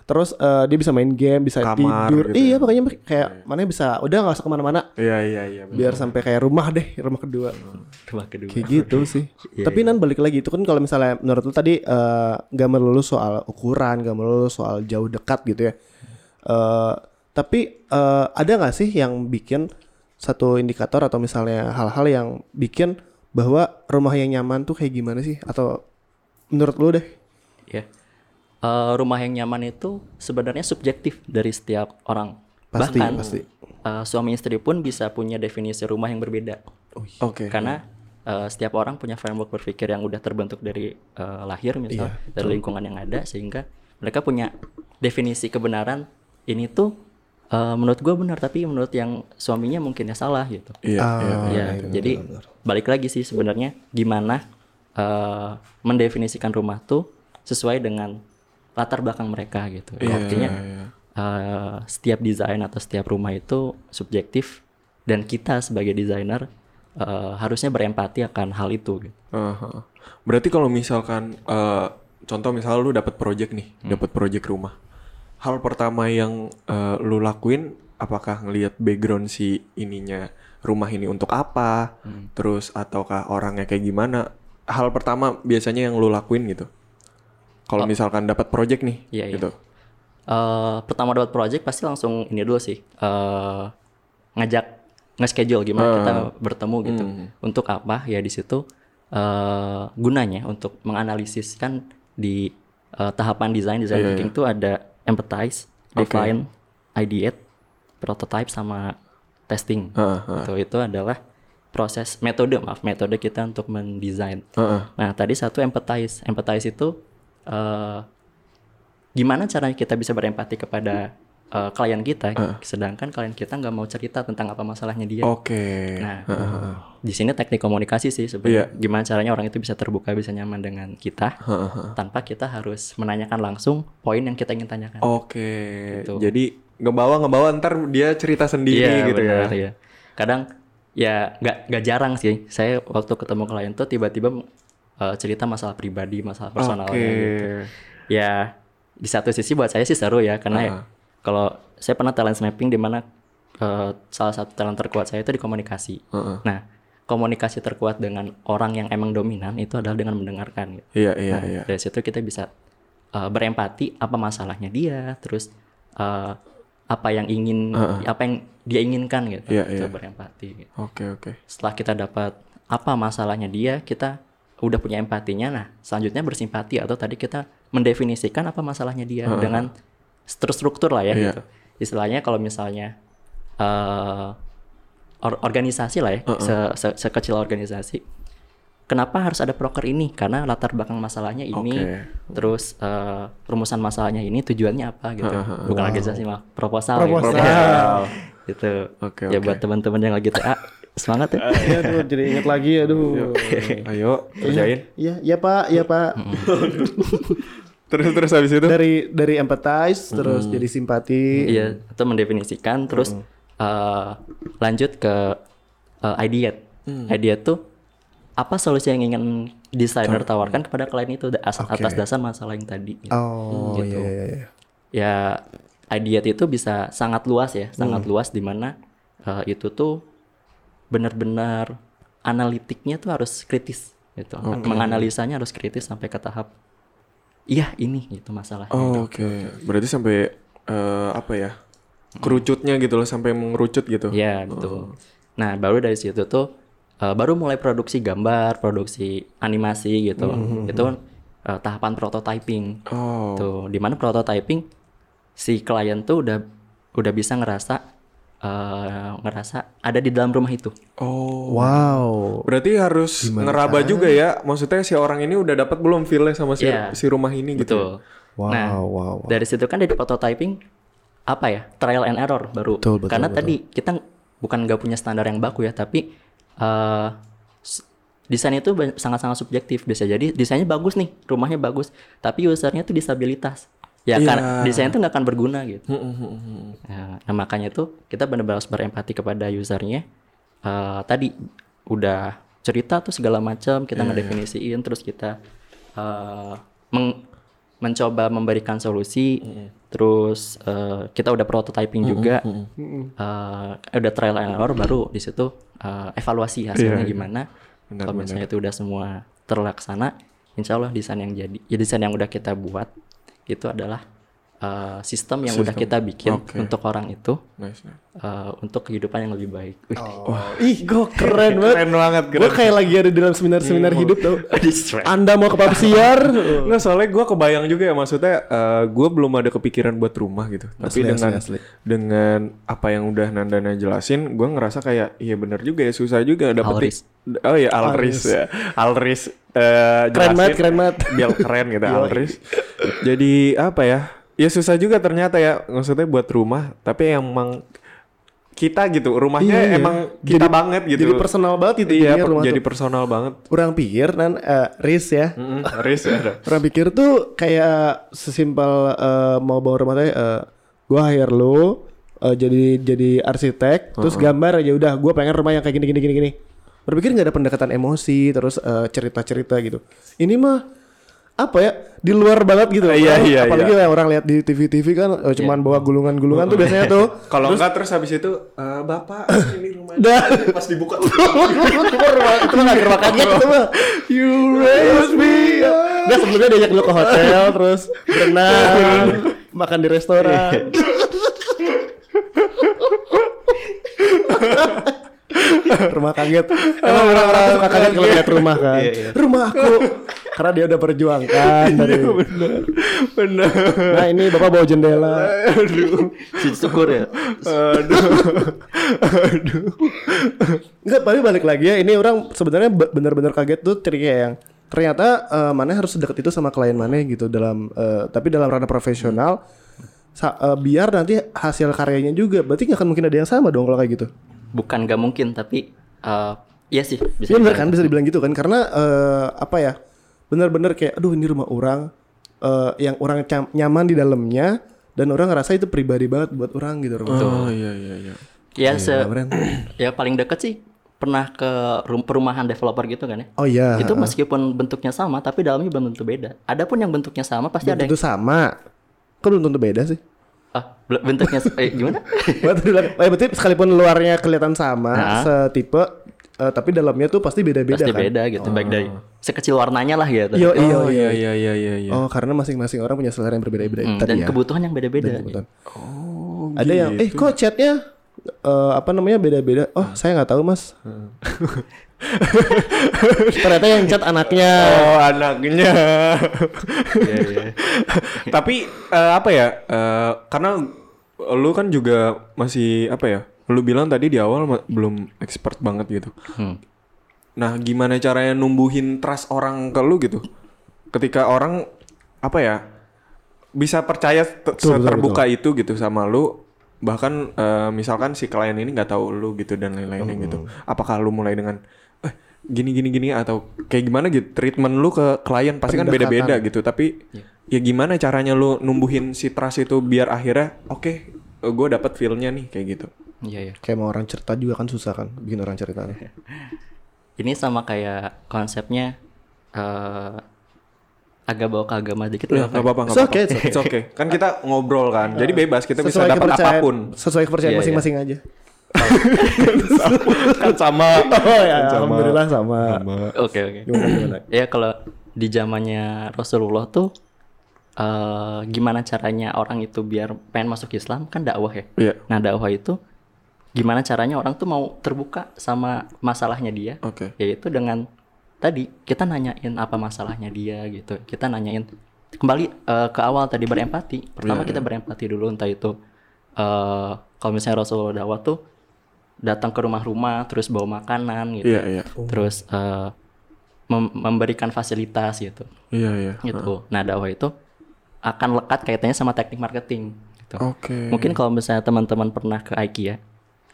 Speaker 4: Terus eh, dia bisa main game, bisa
Speaker 2: Kamar
Speaker 4: tidur.
Speaker 2: gitu
Speaker 4: Iya makanya kayak mana bisa udah nggak usah kemana-mana.
Speaker 2: Iya iya iya. benar.
Speaker 1: Hmm.
Speaker 4: Biar sampai kayak rumah deh, rumah kedua.
Speaker 3: Rumah kedua.
Speaker 4: Kayak gitu sih.
Speaker 1: Iya,
Speaker 4: Tapi nan balik lagi itu kan kalau misalnya menurut lu tadi eh, nggak melulu soal ukuran, nggak melulu soal jauh dekat gitu ya. Eh, tapi eh, ada nggak sih yang bikin satu indikator atau misalnya hal-hal yang bikin bahwa rumah yang nyaman tuh kayak gimana sih? Atau menurut lu deh?
Speaker 3: Ya. Eh, rumah yang nyaman itu sebenarnya subjektif dari setiap orang.
Speaker 4: Pasti,
Speaker 3: Bahkan
Speaker 4: pasti.
Speaker 3: eh, suami istri pun bisa punya definisi rumah yang berbeda.
Speaker 4: Oh,
Speaker 2: Oke.
Speaker 3: Karena eh, setiap orang punya framework berpikir yang udah terbentuk dari eh, lahir misal dari lingkungan yang ada sehingga mereka punya definisi kebenaran ini tuh eh, menurut gue benar tapi menurut yang suaminya mungkin ya salah gitu.
Speaker 2: Iya. iya.
Speaker 3: ya, jadi balik lagi sih sebenarnya gimana eh, mendefinisikan rumah tuh sesuai dengan latar belakang mereka gitu.
Speaker 2: Iya,
Speaker 3: Artinya eh, setiap desain atau setiap rumah itu subjektif dan kita sebagai desainer eh, harusnya berempati akan hal itu. Gitu.
Speaker 2: Aha. Berarti kalau misalkan eh, contoh misal lu dapat project nih,
Speaker 3: Hmm.
Speaker 2: dapat project rumah. Hal pertama yang eh, lu lakuin apakah ngelihat background si ininya rumah ini untuk apa?
Speaker 3: Hmm.
Speaker 2: Terus ataukah orangnya kayak gimana? Hal pertama biasanya yang lu lakuin gitu. Kalau misalkan dapat project nih
Speaker 3: Oh. Iya, iya.
Speaker 2: gitu.
Speaker 3: Eh, pertama dapat project pasti langsung ini dulu sih eh, ngajak nge-schedule gimana
Speaker 2: Ah,
Speaker 3: kita bertemu
Speaker 2: hmm.
Speaker 3: gitu untuk apa ya di situ eh, gunanya untuk menganalisis kan di eh, tahapan desain design thinking itu ada empathize, define, ideate, prototype sama testing.
Speaker 2: Ah,
Speaker 3: Gitu. Itu adalah proses metode maaf metode kita untuk mendesain. Nah tadi satu empathize, empathize itu eh, gimana caranya kita bisa berempati kepada uh, klien kita sedangkan klien kita nggak mau cerita tentang apa masalahnya dia
Speaker 2: Oke.
Speaker 3: Iya. nah di sini teknik komunikasi sih sebenarnya
Speaker 2: Iya.
Speaker 3: gimana caranya orang itu bisa terbuka bisa nyaman dengan kita tanpa kita harus menanyakan langsung poin yang kita ingin tanyakan
Speaker 2: Oke.
Speaker 3: Gitu.
Speaker 2: Jadi ngebawa ngebawa ntar dia cerita sendiri gitu ya.
Speaker 3: benar, iya. Kadang ya nggak nggak jarang sih. Saya waktu ketemu klien tuh tiba-tiba eh, cerita masalah pribadi, masalah
Speaker 2: Oke.
Speaker 3: personalnya gitu. Ya di satu sisi buat saya sih seru ya karena
Speaker 2: Ah.
Speaker 3: ya kalau saya pernah talent mapping di mana eh, salah satu talent terkuat saya itu di komunikasi. Nah, komunikasi terkuat dengan orang yang emang dominan itu adalah dengan mendengarkan gitu.
Speaker 2: Iya iya
Speaker 3: Nah,
Speaker 2: iya.
Speaker 3: Dari situ kita bisa uh, berempati apa masalahnya dia, terus uh, apa yang ingin apa yang dia inginkan gitu.
Speaker 2: Iya,
Speaker 3: Itu
Speaker 2: iya.
Speaker 3: berempati. gitu.
Speaker 2: Oke oke.
Speaker 3: Setelah kita dapat apa masalahnya dia, kita udah punya empatinya. Nah, selanjutnya bersimpati atau tadi kita mendefinisikan apa masalahnya dia dengan struktur-struktur lah ya
Speaker 2: Iya.
Speaker 3: gitu. Istilahnya kalau misalnya eh, uh, or- organisasi lah ya, se- se- sekecil organisasi kenapa harus ada proker ini karena latar belakang masalahnya ini
Speaker 2: Oke.
Speaker 3: terus eh, rumusan masalahnya ini tujuannya apa gitu bukan organisasi mah proposal,
Speaker 1: Proposal.
Speaker 3: Gitu. gitu
Speaker 2: Oke,
Speaker 3: ya
Speaker 2: oke.
Speaker 3: buat teman-teman yang lagi TA semangat ya
Speaker 1: Ya, aduh, jadi inget lagi
Speaker 2: Iya.
Speaker 1: aduh.
Speaker 2: Ayo kerjain.
Speaker 1: Iya, iya Pak, iya Pak.
Speaker 2: Terus terus habis itu
Speaker 1: Dari dari empathize terus jadi simpati.
Speaker 3: iya atau mendefinisikan terus eh, lanjut ke eh, ideate
Speaker 1: Mm.
Speaker 3: ideate tuh apa solusi yang ingin desainer tawarkan kepada klien itu da- as- atas dasar masalah yang tadi gitu.
Speaker 1: Oh, iya iya iya.
Speaker 3: ya ideat itu bisa sangat luas ya,
Speaker 1: Mm.
Speaker 3: sangat luas di mana eh, itu tuh benar-benar analitiknya tuh harus kritis gitu. Menganalisanya harus kritis sampai ke tahap iya ini gitu masalahnya.
Speaker 2: Oh, oke. Berarti sampai eh, apa ya? Kerucutnya gitu loh sampai mengerucut gitu.
Speaker 3: Ya, betul. Nah, baru dari situ tuh eh, baru mulai produksi gambar, produksi animasi gitu. Itu eh, tahapan prototyping.
Speaker 2: Hmm, Oh.
Speaker 3: Tuh, di mana prototyping si klien tuh udah udah bisa ngerasa eh, ngerasa ada di dalam rumah itu.
Speaker 2: Oh.
Speaker 1: Wow.
Speaker 2: Berarti harus ngeraba juga ya. Maksudnya si orang ini udah dapat belum feel-nya sama si,
Speaker 3: Iya.
Speaker 2: si rumah ini gitu.
Speaker 3: Betul.
Speaker 1: Wow,
Speaker 3: Nah,
Speaker 1: wow, wow.
Speaker 3: dari situ kan dari prototyping apa ya? Trial and error baru.
Speaker 1: Betul, betul,
Speaker 3: Karena
Speaker 1: betul.
Speaker 3: tadi kita bukan nggak punya standar yang baku ya, tapi eh, s- desain itu ba- sangat-sangat subjektif. Bisa jadi desainnya bagus nih, rumahnya bagus, tapi usernya tuh disabilitas. Ya
Speaker 2: Iya.
Speaker 3: karena desain itu nggak akan berguna gitu.
Speaker 2: Hmm, hmm, hmm, hmm.
Speaker 3: Nah, nah, makanya itu kita benar-benar harus berempati kepada usernya. Eh, tadi udah cerita tuh segala macam,
Speaker 2: Iya,
Speaker 3: kita ngedefinisiin, terus kita eh, meng- mencoba memberikan solusi,
Speaker 2: Iya,
Speaker 3: terus eh, kita udah prototyping juga, Eh, udah trial and error, baru di situ eh, evaluasi hasilnya gimana.
Speaker 2: Iya, Benar,
Speaker 3: Kalau misalnya itu udah semua terlaksana, insya Allah desain yang jadi, ya desain yang udah kita buat itu adalah eh, sistem yang udah
Speaker 2: Sistem.
Speaker 3: kita bikin
Speaker 2: Oke.
Speaker 3: untuk orang itu
Speaker 2: Nice. nice.
Speaker 3: eh, untuk kehidupan yang lebih baik. Wih,
Speaker 1: Ih, gue keren banget. Keren banget, Gue kayak lagi ada di dalam
Speaker 2: Iya,
Speaker 1: seminar-seminar hidup tau. Anda mau ke pub siar?
Speaker 2: Nggak soalnya gue kebayang juga ya maksudnya eh, gue belum ada kepikiran buat rumah gitu. Tapi
Speaker 1: Asli,
Speaker 2: dengan
Speaker 1: asli, asli.
Speaker 2: dengan apa yang udah Nandana jelasin, gue ngerasa kayak iya bener juga ya susah juga dapetin.
Speaker 3: Alris.
Speaker 2: Oh iya Alris, ya. Alris eh,
Speaker 1: Keren banget,
Speaker 2: jelasin
Speaker 1: keren banget.
Speaker 2: biar keren gitu Alris. Jadi apa ya? Ya susah juga ternyata ya maksudnya buat rumah, tapi emang kita gitu rumahnya
Speaker 1: Iya, iya.
Speaker 2: emang kita banget gitu.
Speaker 1: Jadi personal banget itu
Speaker 2: Iya,
Speaker 1: jadinya rumah
Speaker 2: jadi
Speaker 1: tuh.
Speaker 2: personal banget.
Speaker 1: Orang pikir nan eh, Riz ya.
Speaker 2: Mm, Alris ya. ada.
Speaker 1: Orang pikir tuh kayak sesimpel eh, mau bawa rumah tangga eh, gua hire lu eh, jadi jadi arsitek, terus gambar aja udah gua pengen rumah yang kayak gini gini gini gini. Berpikir nggak ada pendekatan emosi, terus eh, cerita-cerita gitu. Ini mah apa ya di luar banget gitu.
Speaker 2: Iya,
Speaker 1: Orang-
Speaker 2: iya,
Speaker 1: Apalagi lah orang lihat di TV-TV kan eh, cuman bawa gulungan-gulungan tuh biasanya tuh.
Speaker 2: Kalau enggak terus habis itu eh, bapak ini rumah
Speaker 1: Dah.
Speaker 2: pas dibuka
Speaker 1: itu mah rumah itu kan mah nggak rumah kaget itu mah. Iya, You raise me. up. Nggak sebelumnya diajak dulu ke hotel terus berenang, Iya. makan di restoran. rumah kaget. Emang orang-orang tuh suka kaget kalau lihat rumah kan. Rumah aku karena dia udah perjuangkan dari.
Speaker 2: bener bener
Speaker 1: Nah ini bapak bawa jendela.
Speaker 2: aduh
Speaker 1: Oh.
Speaker 3: syukur ya.
Speaker 2: aduh aduh
Speaker 1: Enggak, tapi balik lagi ya. Ini orang sebenarnya be- benar-benar kaget tuh triknya yang ternyata eh, mana harus deket itu sama klien mana gitu dalam eh, tapi dalam ranah profesional sa- eh, biar nanti hasil karyanya juga berarti nggak akan mungkin ada yang sama dong kalau kayak gitu.
Speaker 3: Bukan gak mungkin, tapi eh iya sih
Speaker 1: Iya
Speaker 3: bisa.
Speaker 1: benar kan
Speaker 3: dibilang.
Speaker 1: bisa dibilang gitu kan karena eh, apa ya benar-benar kayak aduh ini rumah orang eh, yang orang cam- nyaman di dalamnya dan orang ngerasa itu pribadi banget buat orang gitu rumah.
Speaker 2: oh iya iya iya
Speaker 3: Ya se,
Speaker 1: Keren.
Speaker 3: ya paling deket sih pernah ke rum- perumahan developer gitu kan ya.
Speaker 1: Oh iya.
Speaker 3: Itu meskipun bentuknya sama, tapi dalamnya belum tentu beda. Adapun yang bentuknya sama pasti ada
Speaker 1: Itu
Speaker 3: yang
Speaker 1: sama. Kok belum tentu beda sih?
Speaker 3: ah, bel- bentuknya eh, gimana?
Speaker 1: Buat bilang, eh, berarti sekalipun luarnya kelihatan sama,
Speaker 3: Nah.
Speaker 1: setipe, eh, tapi dalamnya tuh pasti beda-beda
Speaker 3: pasti
Speaker 1: kan?
Speaker 3: beda gitu, baik dari sekecil warnanya lah gitu.
Speaker 1: Iya, iya,
Speaker 2: oh
Speaker 1: iya.
Speaker 2: iya iya iya iya iya
Speaker 1: Oh, karena masing-masing orang punya selera yang berbeda-beda
Speaker 3: Hmm,
Speaker 1: tadi
Speaker 3: dan
Speaker 1: ya.
Speaker 3: kebutuhan yang beda-beda.
Speaker 1: Kebetulan.
Speaker 2: oh
Speaker 1: Ada yang, eh kok chatnya eh, apa namanya beda-beda? Oh, saya nggak tahu mas. Ternyata yang chat anaknya.
Speaker 2: oh anaknya Iya, tapi eh, apa ya eh, karena lu kan juga masih apa ya lu bilang tadi di awal ma- belum expert banget gitu
Speaker 3: Hmm.
Speaker 2: Nah, gimana caranya numbuhin trust orang ke lu gitu? Ketika orang apa ya bisa percaya te- seterbuka itu gitu sama lu, bahkan eh, misalkan si klien ini nggak tahu lu gitu dan lain-lainnya gitu. Apakah lu mulai dengan eh gini gini gini atau kayak gimana gitu treatment lu ke klien pasti kan beda-beda gitu, tapi ya gimana caranya lu numbuhin si trust itu biar akhirnya oke, gue dapet feel-nya nih kayak gitu.
Speaker 3: Iya ya.
Speaker 1: Kayak mau orang cerita juga kan susah kan bikin orang cerita.
Speaker 3: Ini sama kayak konsepnya eh agak bawa ke agama dikit
Speaker 2: Ya,
Speaker 3: lah.
Speaker 2: nggak apa-apa, nggak
Speaker 1: It's
Speaker 2: apa-apa.
Speaker 1: okay, it's okay.
Speaker 2: It's okay. Kan kita ngobrol kan, jadi bebas kita bisa dapat
Speaker 1: kepercayaan-
Speaker 2: apapun.
Speaker 1: Sesuai kepercayaan
Speaker 3: Iya, iya.
Speaker 1: masing-masing aja.
Speaker 2: kan sama.
Speaker 1: Oh ya,
Speaker 2: Sama.
Speaker 1: alhamdulillah sama.
Speaker 3: Oke oke.
Speaker 1: Gimana gimana?
Speaker 3: Ya kalau di zamannya Rasulullah tuh eh gimana caranya orang itu biar pengen masuk Islam kan dakwah ya.
Speaker 2: Iya.
Speaker 3: Nah dakwah itu gimana caranya orang tuh mau terbuka sama masalahnya dia,
Speaker 2: Oke.
Speaker 3: yaitu Ya dengan tadi kita nanyain apa masalahnya dia gitu, kita nanyain kembali eh, ke awal tadi berempati. Pertama kita berempati dulu entah itu eh kalau misalnya Rasulullah dakwah tuh datang ke rumah-rumah terus bawa makanan gitu,
Speaker 2: Iya, iya.
Speaker 3: terus eh, mem- memberikan fasilitas gitu
Speaker 2: Iya, iya.
Speaker 3: gitu. Nah dakwah itu akan lekat kaitannya sama teknik marketing. Gitu.
Speaker 2: Oke.
Speaker 1: Hmm.
Speaker 3: Mungkin kalau misalnya teman-teman pernah ke IKEA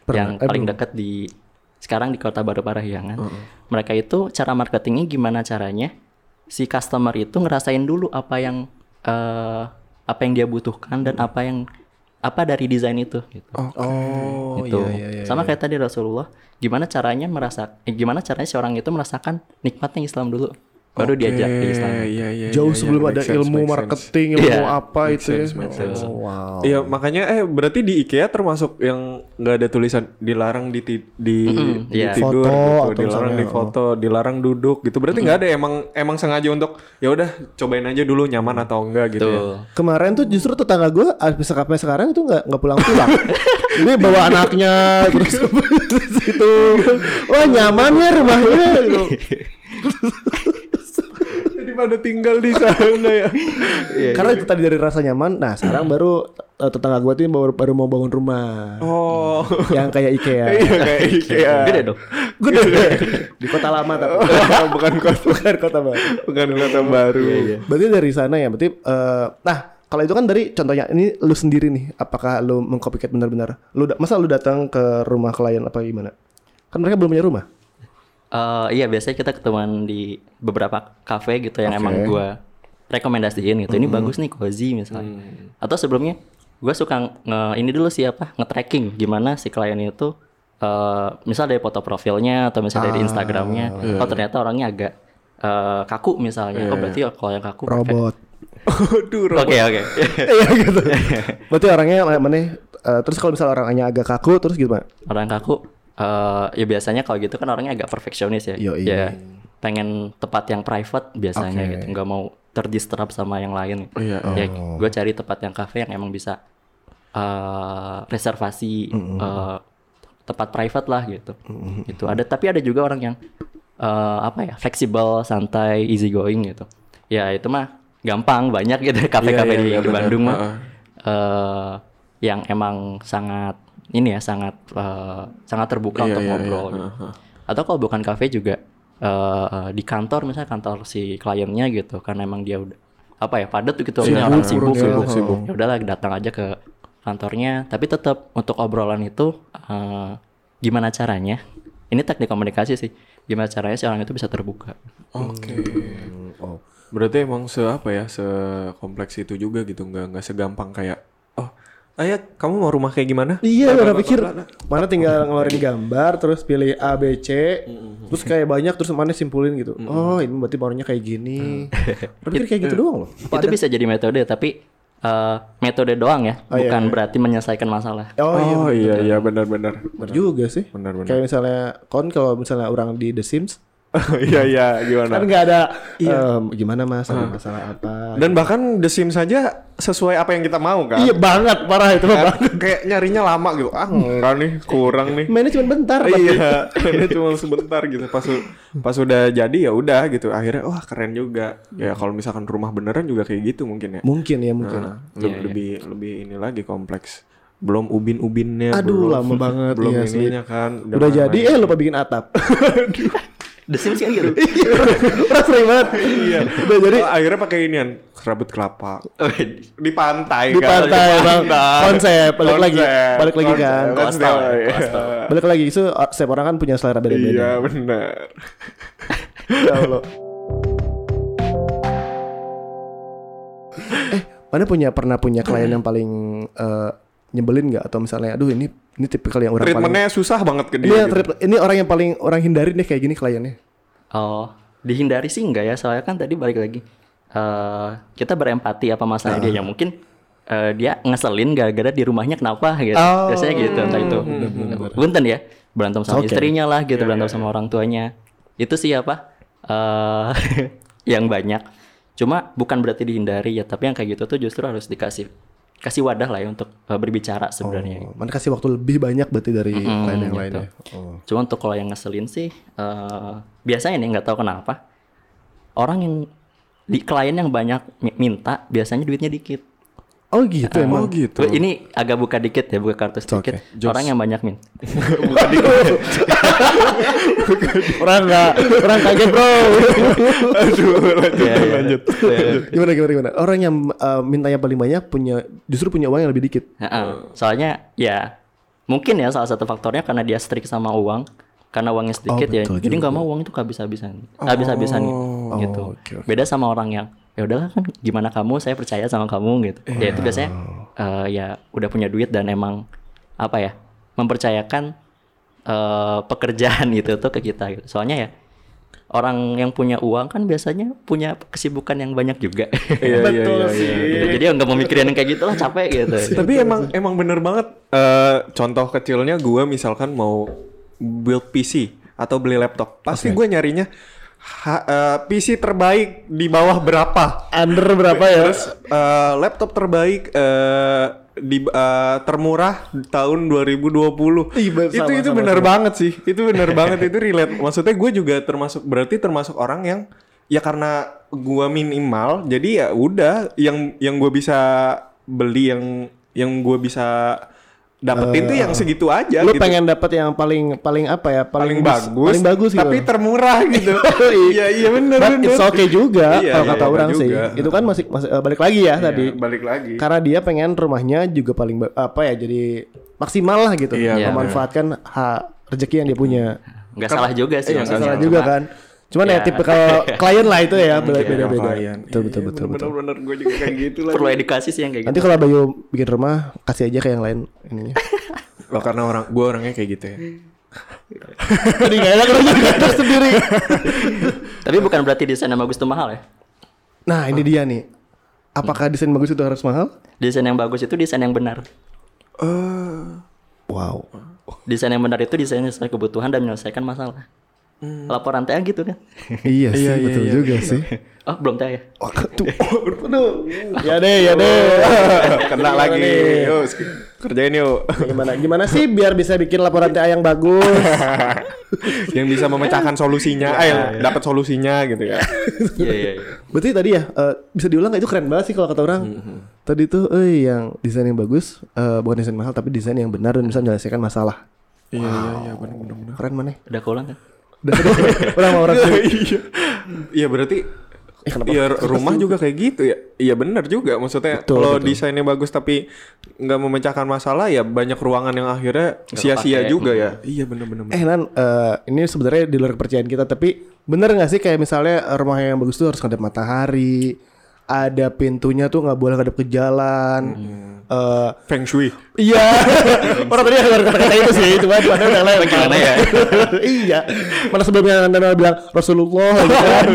Speaker 3: yang
Speaker 1: Eh,
Speaker 3: paling dekat di sekarang di Kota Baru Parahyangan, mereka itu cara marketingnya gimana caranya si customer itu ngerasain dulu apa yang eh, apa yang dia butuhkan dan apa yang apa dari desain itu. Gitu.
Speaker 1: Oh,
Speaker 3: Gitu.
Speaker 1: iya, iya, iya.
Speaker 3: sama kayak tadi Rasulullah, gimana caranya merasa, eh, gimana caranya seorang itu merasakan nikmatnya Islam dulu, baru diajak ke Islam.
Speaker 2: Iya, iya, iya,
Speaker 1: Jauh
Speaker 2: iya,
Speaker 1: sebelum
Speaker 2: make
Speaker 1: ada
Speaker 2: sense,
Speaker 1: ilmu
Speaker 2: make sense.
Speaker 1: marketing, ilmu
Speaker 3: Iya.
Speaker 1: apa
Speaker 2: Make
Speaker 1: itu ya.
Speaker 2: sense, make sense.
Speaker 1: Oh, wow.
Speaker 2: Iya, makanya eh berarti di IKEA termasuk yang nggak ada tulisan dilarang di ti- di, di
Speaker 3: iya.
Speaker 2: tidur
Speaker 1: Foto
Speaker 2: gitu,
Speaker 1: atau
Speaker 2: dilarang
Speaker 1: misalnya, oh.
Speaker 2: di foto, dilarang duduk gitu. Berarti nggak ada emang emang sengaja untuk ya udah cobain aja dulu nyaman atau enggak gitu. ya.
Speaker 3: Tuh.
Speaker 1: Kemarin tuh justru tetangga gue abis sampai sekarang itu nggak nggak pulang-pulang. Ini bawa anaknya terus terus itu. Wah nyaman ya rumahnya. gitu.
Speaker 2: Jadi pada tinggal di sana ya.
Speaker 1: Karena itu tadi dari rasa nyaman. Nah sekarang baru eh, tetangga gue tuh yang baru, baru mau bangun rumah
Speaker 2: Oh.
Speaker 1: yang kayak IKEA.
Speaker 2: Iya kayak IKEA.
Speaker 3: Gede dong.
Speaker 1: Gede. Di kota lama tapi Iya. bukan kota bukan kota baru.
Speaker 2: Oh, Bukan kata baru.
Speaker 1: Berarti dari sana ya, berarti eh, nah kalau itu kan dari contohnya ini lu sendiri nih, apakah lu mengcopycat benar-benar? Lu da- masa lu datang ke rumah klien apa gimana? Kan mereka belum punya rumah.
Speaker 3: Eh, iya biasanya kita ketemuan di beberapa kafe gitu yang
Speaker 1: Oke.
Speaker 3: emang gua rekomendasiin gitu. Ini bagus nih cozy misalnya. Atau sebelumnya gua suka nge ini dulu sih apa nge-tracking gimana si klien itu eh misal dari foto profilnya atau misal dari Instagramnya, oh ternyata orangnya agak eh, kaku misalnya. Oh berarti kalau yang kaku pakai-
Speaker 1: Robot.
Speaker 2: Aduh,
Speaker 3: Oke oke.
Speaker 1: Iya gitu. berarti orangnya kayak mana? eh, terus kalau misalnya orangnya agak kaku terus gitu, gimana?
Speaker 3: orang kaku eh ya biasanya kalau gitu kan orangnya agak perfeksionis ya
Speaker 1: Yoi.
Speaker 3: ya pengen tempat yang private biasanya
Speaker 1: Oke.
Speaker 3: gitu nggak mau terdistrap sama yang lain
Speaker 2: Iya,
Speaker 3: ya gue cari tempat yang kafe yang emang bisa eh reservasi eh, tempat private lah gitu itu ada tapi ada juga orang yang eh, apa ya fleksibel santai easy going gitu ya itu mah gampang banyak gitu kafe-kafe
Speaker 2: Iya,
Speaker 3: di,
Speaker 2: iya,
Speaker 3: di
Speaker 2: benar.
Speaker 3: Bandung mah
Speaker 2: Heeh.
Speaker 3: eh yang emang sangat ini ya sangat eh, sangat terbuka
Speaker 2: Iya,
Speaker 3: untuk
Speaker 2: iya,
Speaker 3: ngobrol
Speaker 2: iya.
Speaker 3: gitu.
Speaker 2: Heeh.
Speaker 3: atau kalau bukan kafe juga eh, eh, di kantor misalnya kantor si kliennya gitu karena emang dia udah apa ya padat gitu
Speaker 1: Sibuk,
Speaker 3: orangnya orang sibuk
Speaker 1: sibuk,
Speaker 2: iya,
Speaker 3: gitu.
Speaker 1: sibuk.
Speaker 3: ya udahlah datang aja ke kantornya tapi tetap untuk obrolan itu eh, gimana caranya ini teknik komunikasi sih gimana caranya si orang itu bisa terbuka
Speaker 2: Oke.
Speaker 1: oh.
Speaker 2: Berarti emang se apa ya, sekompleks itu juga gitu, nggak nggak segampang kayak oh, ayah kamu mau rumah kayak gimana?
Speaker 1: Iya, udah pikir mana tinggal ngeluarin gambar terus pilih A B C terus kayak banyak terus mana simpulin gitu. Oh, ini berarti orangnya kayak gini. Berarti kayak gitu doang loh.
Speaker 3: itu bisa jadi metode tapi eh, metode doang ya
Speaker 1: iya,
Speaker 3: bukan berarti menyelesaikan masalah
Speaker 1: Oh, iya.
Speaker 2: Oh, iya iya benar-benar.
Speaker 1: Bener juga sih.
Speaker 2: Bener, bener.
Speaker 1: Kayak misalnya kon kalau misalnya orang di The Sims
Speaker 2: Iya iya
Speaker 1: kan
Speaker 2: gimana?
Speaker 1: nggak ada
Speaker 2: Iya.
Speaker 1: em, gimana mas ada masalah apa.
Speaker 2: Kan, Dan bahkan The Sims saja sesuai apa yang kita mau kan?
Speaker 1: Iya banget parah itu mah
Speaker 2: Kan?
Speaker 1: Bang.
Speaker 2: Kayak nyarinya lama gitu. Ah, enggak nih, kurang nih.
Speaker 1: Mainnya cuma bentar. Bang.
Speaker 2: iya, ini cuma sebentar gitu. Pas u- pas udah jadi ya udah gitu. Akhirnya wah keren juga. Ya kalau misalkan rumah beneran juga kayak gitu mungkin ya.
Speaker 1: Hmm. Mungkin ya mungkin.
Speaker 2: Nah, le- lebih lebih ini lagi kompleks. Belum ubin-ubinnya.
Speaker 1: Aduh
Speaker 2: belum-
Speaker 1: lama banget
Speaker 2: Belum
Speaker 1: iya, asli.
Speaker 2: ininya kan.
Speaker 1: Udah jadi eh lupa bikin atap.
Speaker 3: The Sims kan gitu.
Speaker 1: Orang Iya. sering banget. Iya. jadi
Speaker 2: Oh, akhirnya pakai inian serabut kelapa di pantai
Speaker 1: di
Speaker 2: kan?
Speaker 1: pantai
Speaker 2: Di
Speaker 1: bang
Speaker 2: pantai.
Speaker 1: konsep balik lagi
Speaker 2: Konsep,
Speaker 1: balik lagi
Speaker 2: konsep.
Speaker 1: kan
Speaker 2: That's
Speaker 3: Coastal,
Speaker 2: the way.
Speaker 3: coastal.
Speaker 1: balik lagi itu uh, setiap orang kan punya selera beda-beda
Speaker 2: iya benar
Speaker 1: Ya Allah. eh, mana punya pernah punya
Speaker 2: Hmm.
Speaker 1: klien yang paling eh, nyebelin nggak atau misalnya aduh ini ini tipikal yang orang
Speaker 2: treatmentnya susah banget ke
Speaker 1: paling ini,
Speaker 2: dia
Speaker 1: yang
Speaker 2: gitu.
Speaker 1: treatment- ini orang yang paling orang hindarin deh kayak gini kliennya.
Speaker 3: Oh, dihindari sih enggak ya? Soalnya kan tadi balik lagi eh kita berempati apa masalah
Speaker 1: Ah.
Speaker 3: dia yang mungkin eh, dia ngeselin gara-gara di rumahnya kenapa gitu.
Speaker 1: Oh.
Speaker 3: Biasanya gitu entah itu. Punten ya, berantem sama
Speaker 1: Oke. Iya,
Speaker 3: istrinya lah gitu, berantem sama orang tuanya. Itu sih apa? eh yang banyak. Cuma bukan berarti dihindari ya, tapi yang kayak gitu tuh justru harus dikasih kasih wadah lah ya untuk eh, berbicara sebenarnya.
Speaker 1: Oh, mana kasih waktu lebih banyak berarti dari
Speaker 2: Hmm,
Speaker 3: Mm-mm,
Speaker 1: klien yang
Speaker 3: gitu.
Speaker 1: lainnya. Oh.
Speaker 3: Cuma untuk kalau yang ngeselin sih, eh, biasanya nih nggak tahu kenapa orang yang di klien yang banyak mi- minta biasanya duitnya dikit.
Speaker 1: Oh gitu
Speaker 2: oh
Speaker 1: emang.
Speaker 2: gitu
Speaker 3: Ini agak buka dikit ya, buka kartu sedikit.
Speaker 1: okay.
Speaker 3: Orang yang banyak minta.
Speaker 1: orang nggak orang kaget bro.
Speaker 2: aduh lanjut lanjut
Speaker 1: Iya, gimana gimana gimana. Orang yang eh, mintanya paling banyak punya justru punya uang yang lebih dikit.
Speaker 3: Heeh.
Speaker 1: Oh.
Speaker 3: Soalnya ya mungkin ya salah satu faktornya karena dia strict sama uang, karena uangnya sedikit ya.
Speaker 1: Oh, betul
Speaker 3: jadi
Speaker 1: juga.
Speaker 3: nggak mau uang itu habis-habisan, habis-habisan
Speaker 1: Oh,
Speaker 3: gitu.
Speaker 1: oke, oke.
Speaker 3: Beda sama orang yang ya udahlah kan gimana kamu saya percaya sama kamu gitu. Ya itu biasanya eh, ya udah punya duit dan emang apa ya mempercayakan eh, pekerjaan gitu tuh ke kita. Gitu. Soalnya ya orang yang punya uang kan biasanya punya kesibukan yang banyak juga.
Speaker 2: iya iya iya, iya
Speaker 3: Gitu. Jadi ya nggak mau mikirin yang kayak gitu lah capek gitu.
Speaker 2: tapi emang emang bener banget Iya, eh, contoh kecilnya gue misalkan mau build PC atau beli laptop pasti gue nyarinya ha- eh, PC terbaik di bawah berapa
Speaker 1: Under berapa ya?
Speaker 2: terus eh, laptop terbaik eh, di eh, termurah tahun 2020
Speaker 1: Ih, bener,
Speaker 2: itu
Speaker 1: sama,
Speaker 2: itu
Speaker 1: sama,
Speaker 2: bener banget sih itu bener banget itu relate maksudnya gue juga termasuk berarti termasuk orang yang ya karena gue minimal jadi ya udah yang yang gue bisa beli yang yang gue bisa dapetin tuh yang segitu aja
Speaker 1: Eh, lu
Speaker 2: gitu.
Speaker 1: pengen dapat yang paling paling apa ya
Speaker 2: paling
Speaker 1: bis-
Speaker 2: bagus,
Speaker 1: paling bagus gitu
Speaker 2: tapi termurah gitu iya iya bener
Speaker 1: But
Speaker 2: bener
Speaker 1: it's okay juga
Speaker 2: Iya,
Speaker 1: kalau
Speaker 2: iya,
Speaker 1: kata
Speaker 2: iya
Speaker 1: orang
Speaker 2: juga. Iya,
Speaker 1: sih itu kan masih, masih eh, balik lagi ya tadi
Speaker 2: balik lagi
Speaker 1: karena dia pengen rumahnya juga paling ba- apa ya jadi maksimal lah gitu
Speaker 2: Iya,
Speaker 1: memanfaatkan hak rezeki yang dia punya
Speaker 3: nggak salah juga sih
Speaker 2: Iya, nggak
Speaker 3: maksudnya.
Speaker 1: salah
Speaker 3: Cuma-
Speaker 1: juga kan cuman ya
Speaker 3: Ya.
Speaker 1: tipikal klien lah itu ya beda beda, beda.
Speaker 2: klien.
Speaker 1: betul betul betul, betul.
Speaker 2: bener bener gue iya. juga kayak gitu lah
Speaker 3: perlu edukasi sih yang kayak
Speaker 1: nanti
Speaker 3: gitu
Speaker 1: kalau Bayu bikin rumah kasih aja ke yang lain ininya
Speaker 2: Loh karena orang gue orangnya kayak gitu ya.
Speaker 1: jadi nggak enak lu jadi atas sendiri
Speaker 3: tapi bukan berarti desain yang bagus itu mahal ya
Speaker 1: nah ini dia nih apakah desain bagus itu harus mahal
Speaker 3: desain yang bagus itu desain yang benar
Speaker 1: wow
Speaker 3: desain yang benar itu desain yang sesuai kebutuhan dan menyelesaikan masalah
Speaker 1: Hmm.
Speaker 3: laporan TA gitu kan
Speaker 1: iya sih betul juga sih
Speaker 3: oh belum TA ya
Speaker 1: Oh, tuh. Aduh. Ya deh, ya deh.
Speaker 2: Kena lagi. Yuk, sk- kerjain yuk.
Speaker 1: Gimana gimana sih biar bisa bikin laporan TA yang bagus?
Speaker 2: Yang bisa memecahkan solusinya,
Speaker 1: Iya,
Speaker 2: eh dapat solusinya gitu ya.
Speaker 3: iya iya iya.
Speaker 1: Berarti tadi ya eh, bisa diulang nggak? itu keren banget sih kalau kata orang.
Speaker 2: Mm-hmm.
Speaker 1: Tadi tuh eh yang desain yang bagus eh, bukan desain mahal tapi desain yang benar dan bisa menyelesaikan masalah.
Speaker 2: Iya iya iya benar benar.
Speaker 1: Keren mana?
Speaker 3: udah keulang kan
Speaker 1: Udah udah, orang mau orang.
Speaker 2: Iya. Iya berarti
Speaker 1: Eh, kenapa?
Speaker 2: Iya rumah juga kayak gitu ya. Iya benar juga maksudnya
Speaker 1: Betul,
Speaker 2: kalau
Speaker 1: betul.
Speaker 2: desainnya bagus tapi nggak memecahkan masalah ya banyak ruangan yang akhirnya sia-sia
Speaker 3: kepake.
Speaker 2: juga ya. Iya benar benar.
Speaker 1: Eh Nan, eh, ini sebenarnya di luar kepercayaan kita tapi bener nggak sih kayak misalnya rumah yang bagus tuh harus ngadep matahari, ada pintunya tuh nggak boleh ngadep ke jalan.
Speaker 2: Iya.
Speaker 1: Eh,
Speaker 2: Feng Shui.
Speaker 1: Iya. Orang tadi ada kata-kata itu sih, cuma di mana udah lewat gimana ya? iya. Mana sebelumnya Anda bilang Rasulullah gitu kan.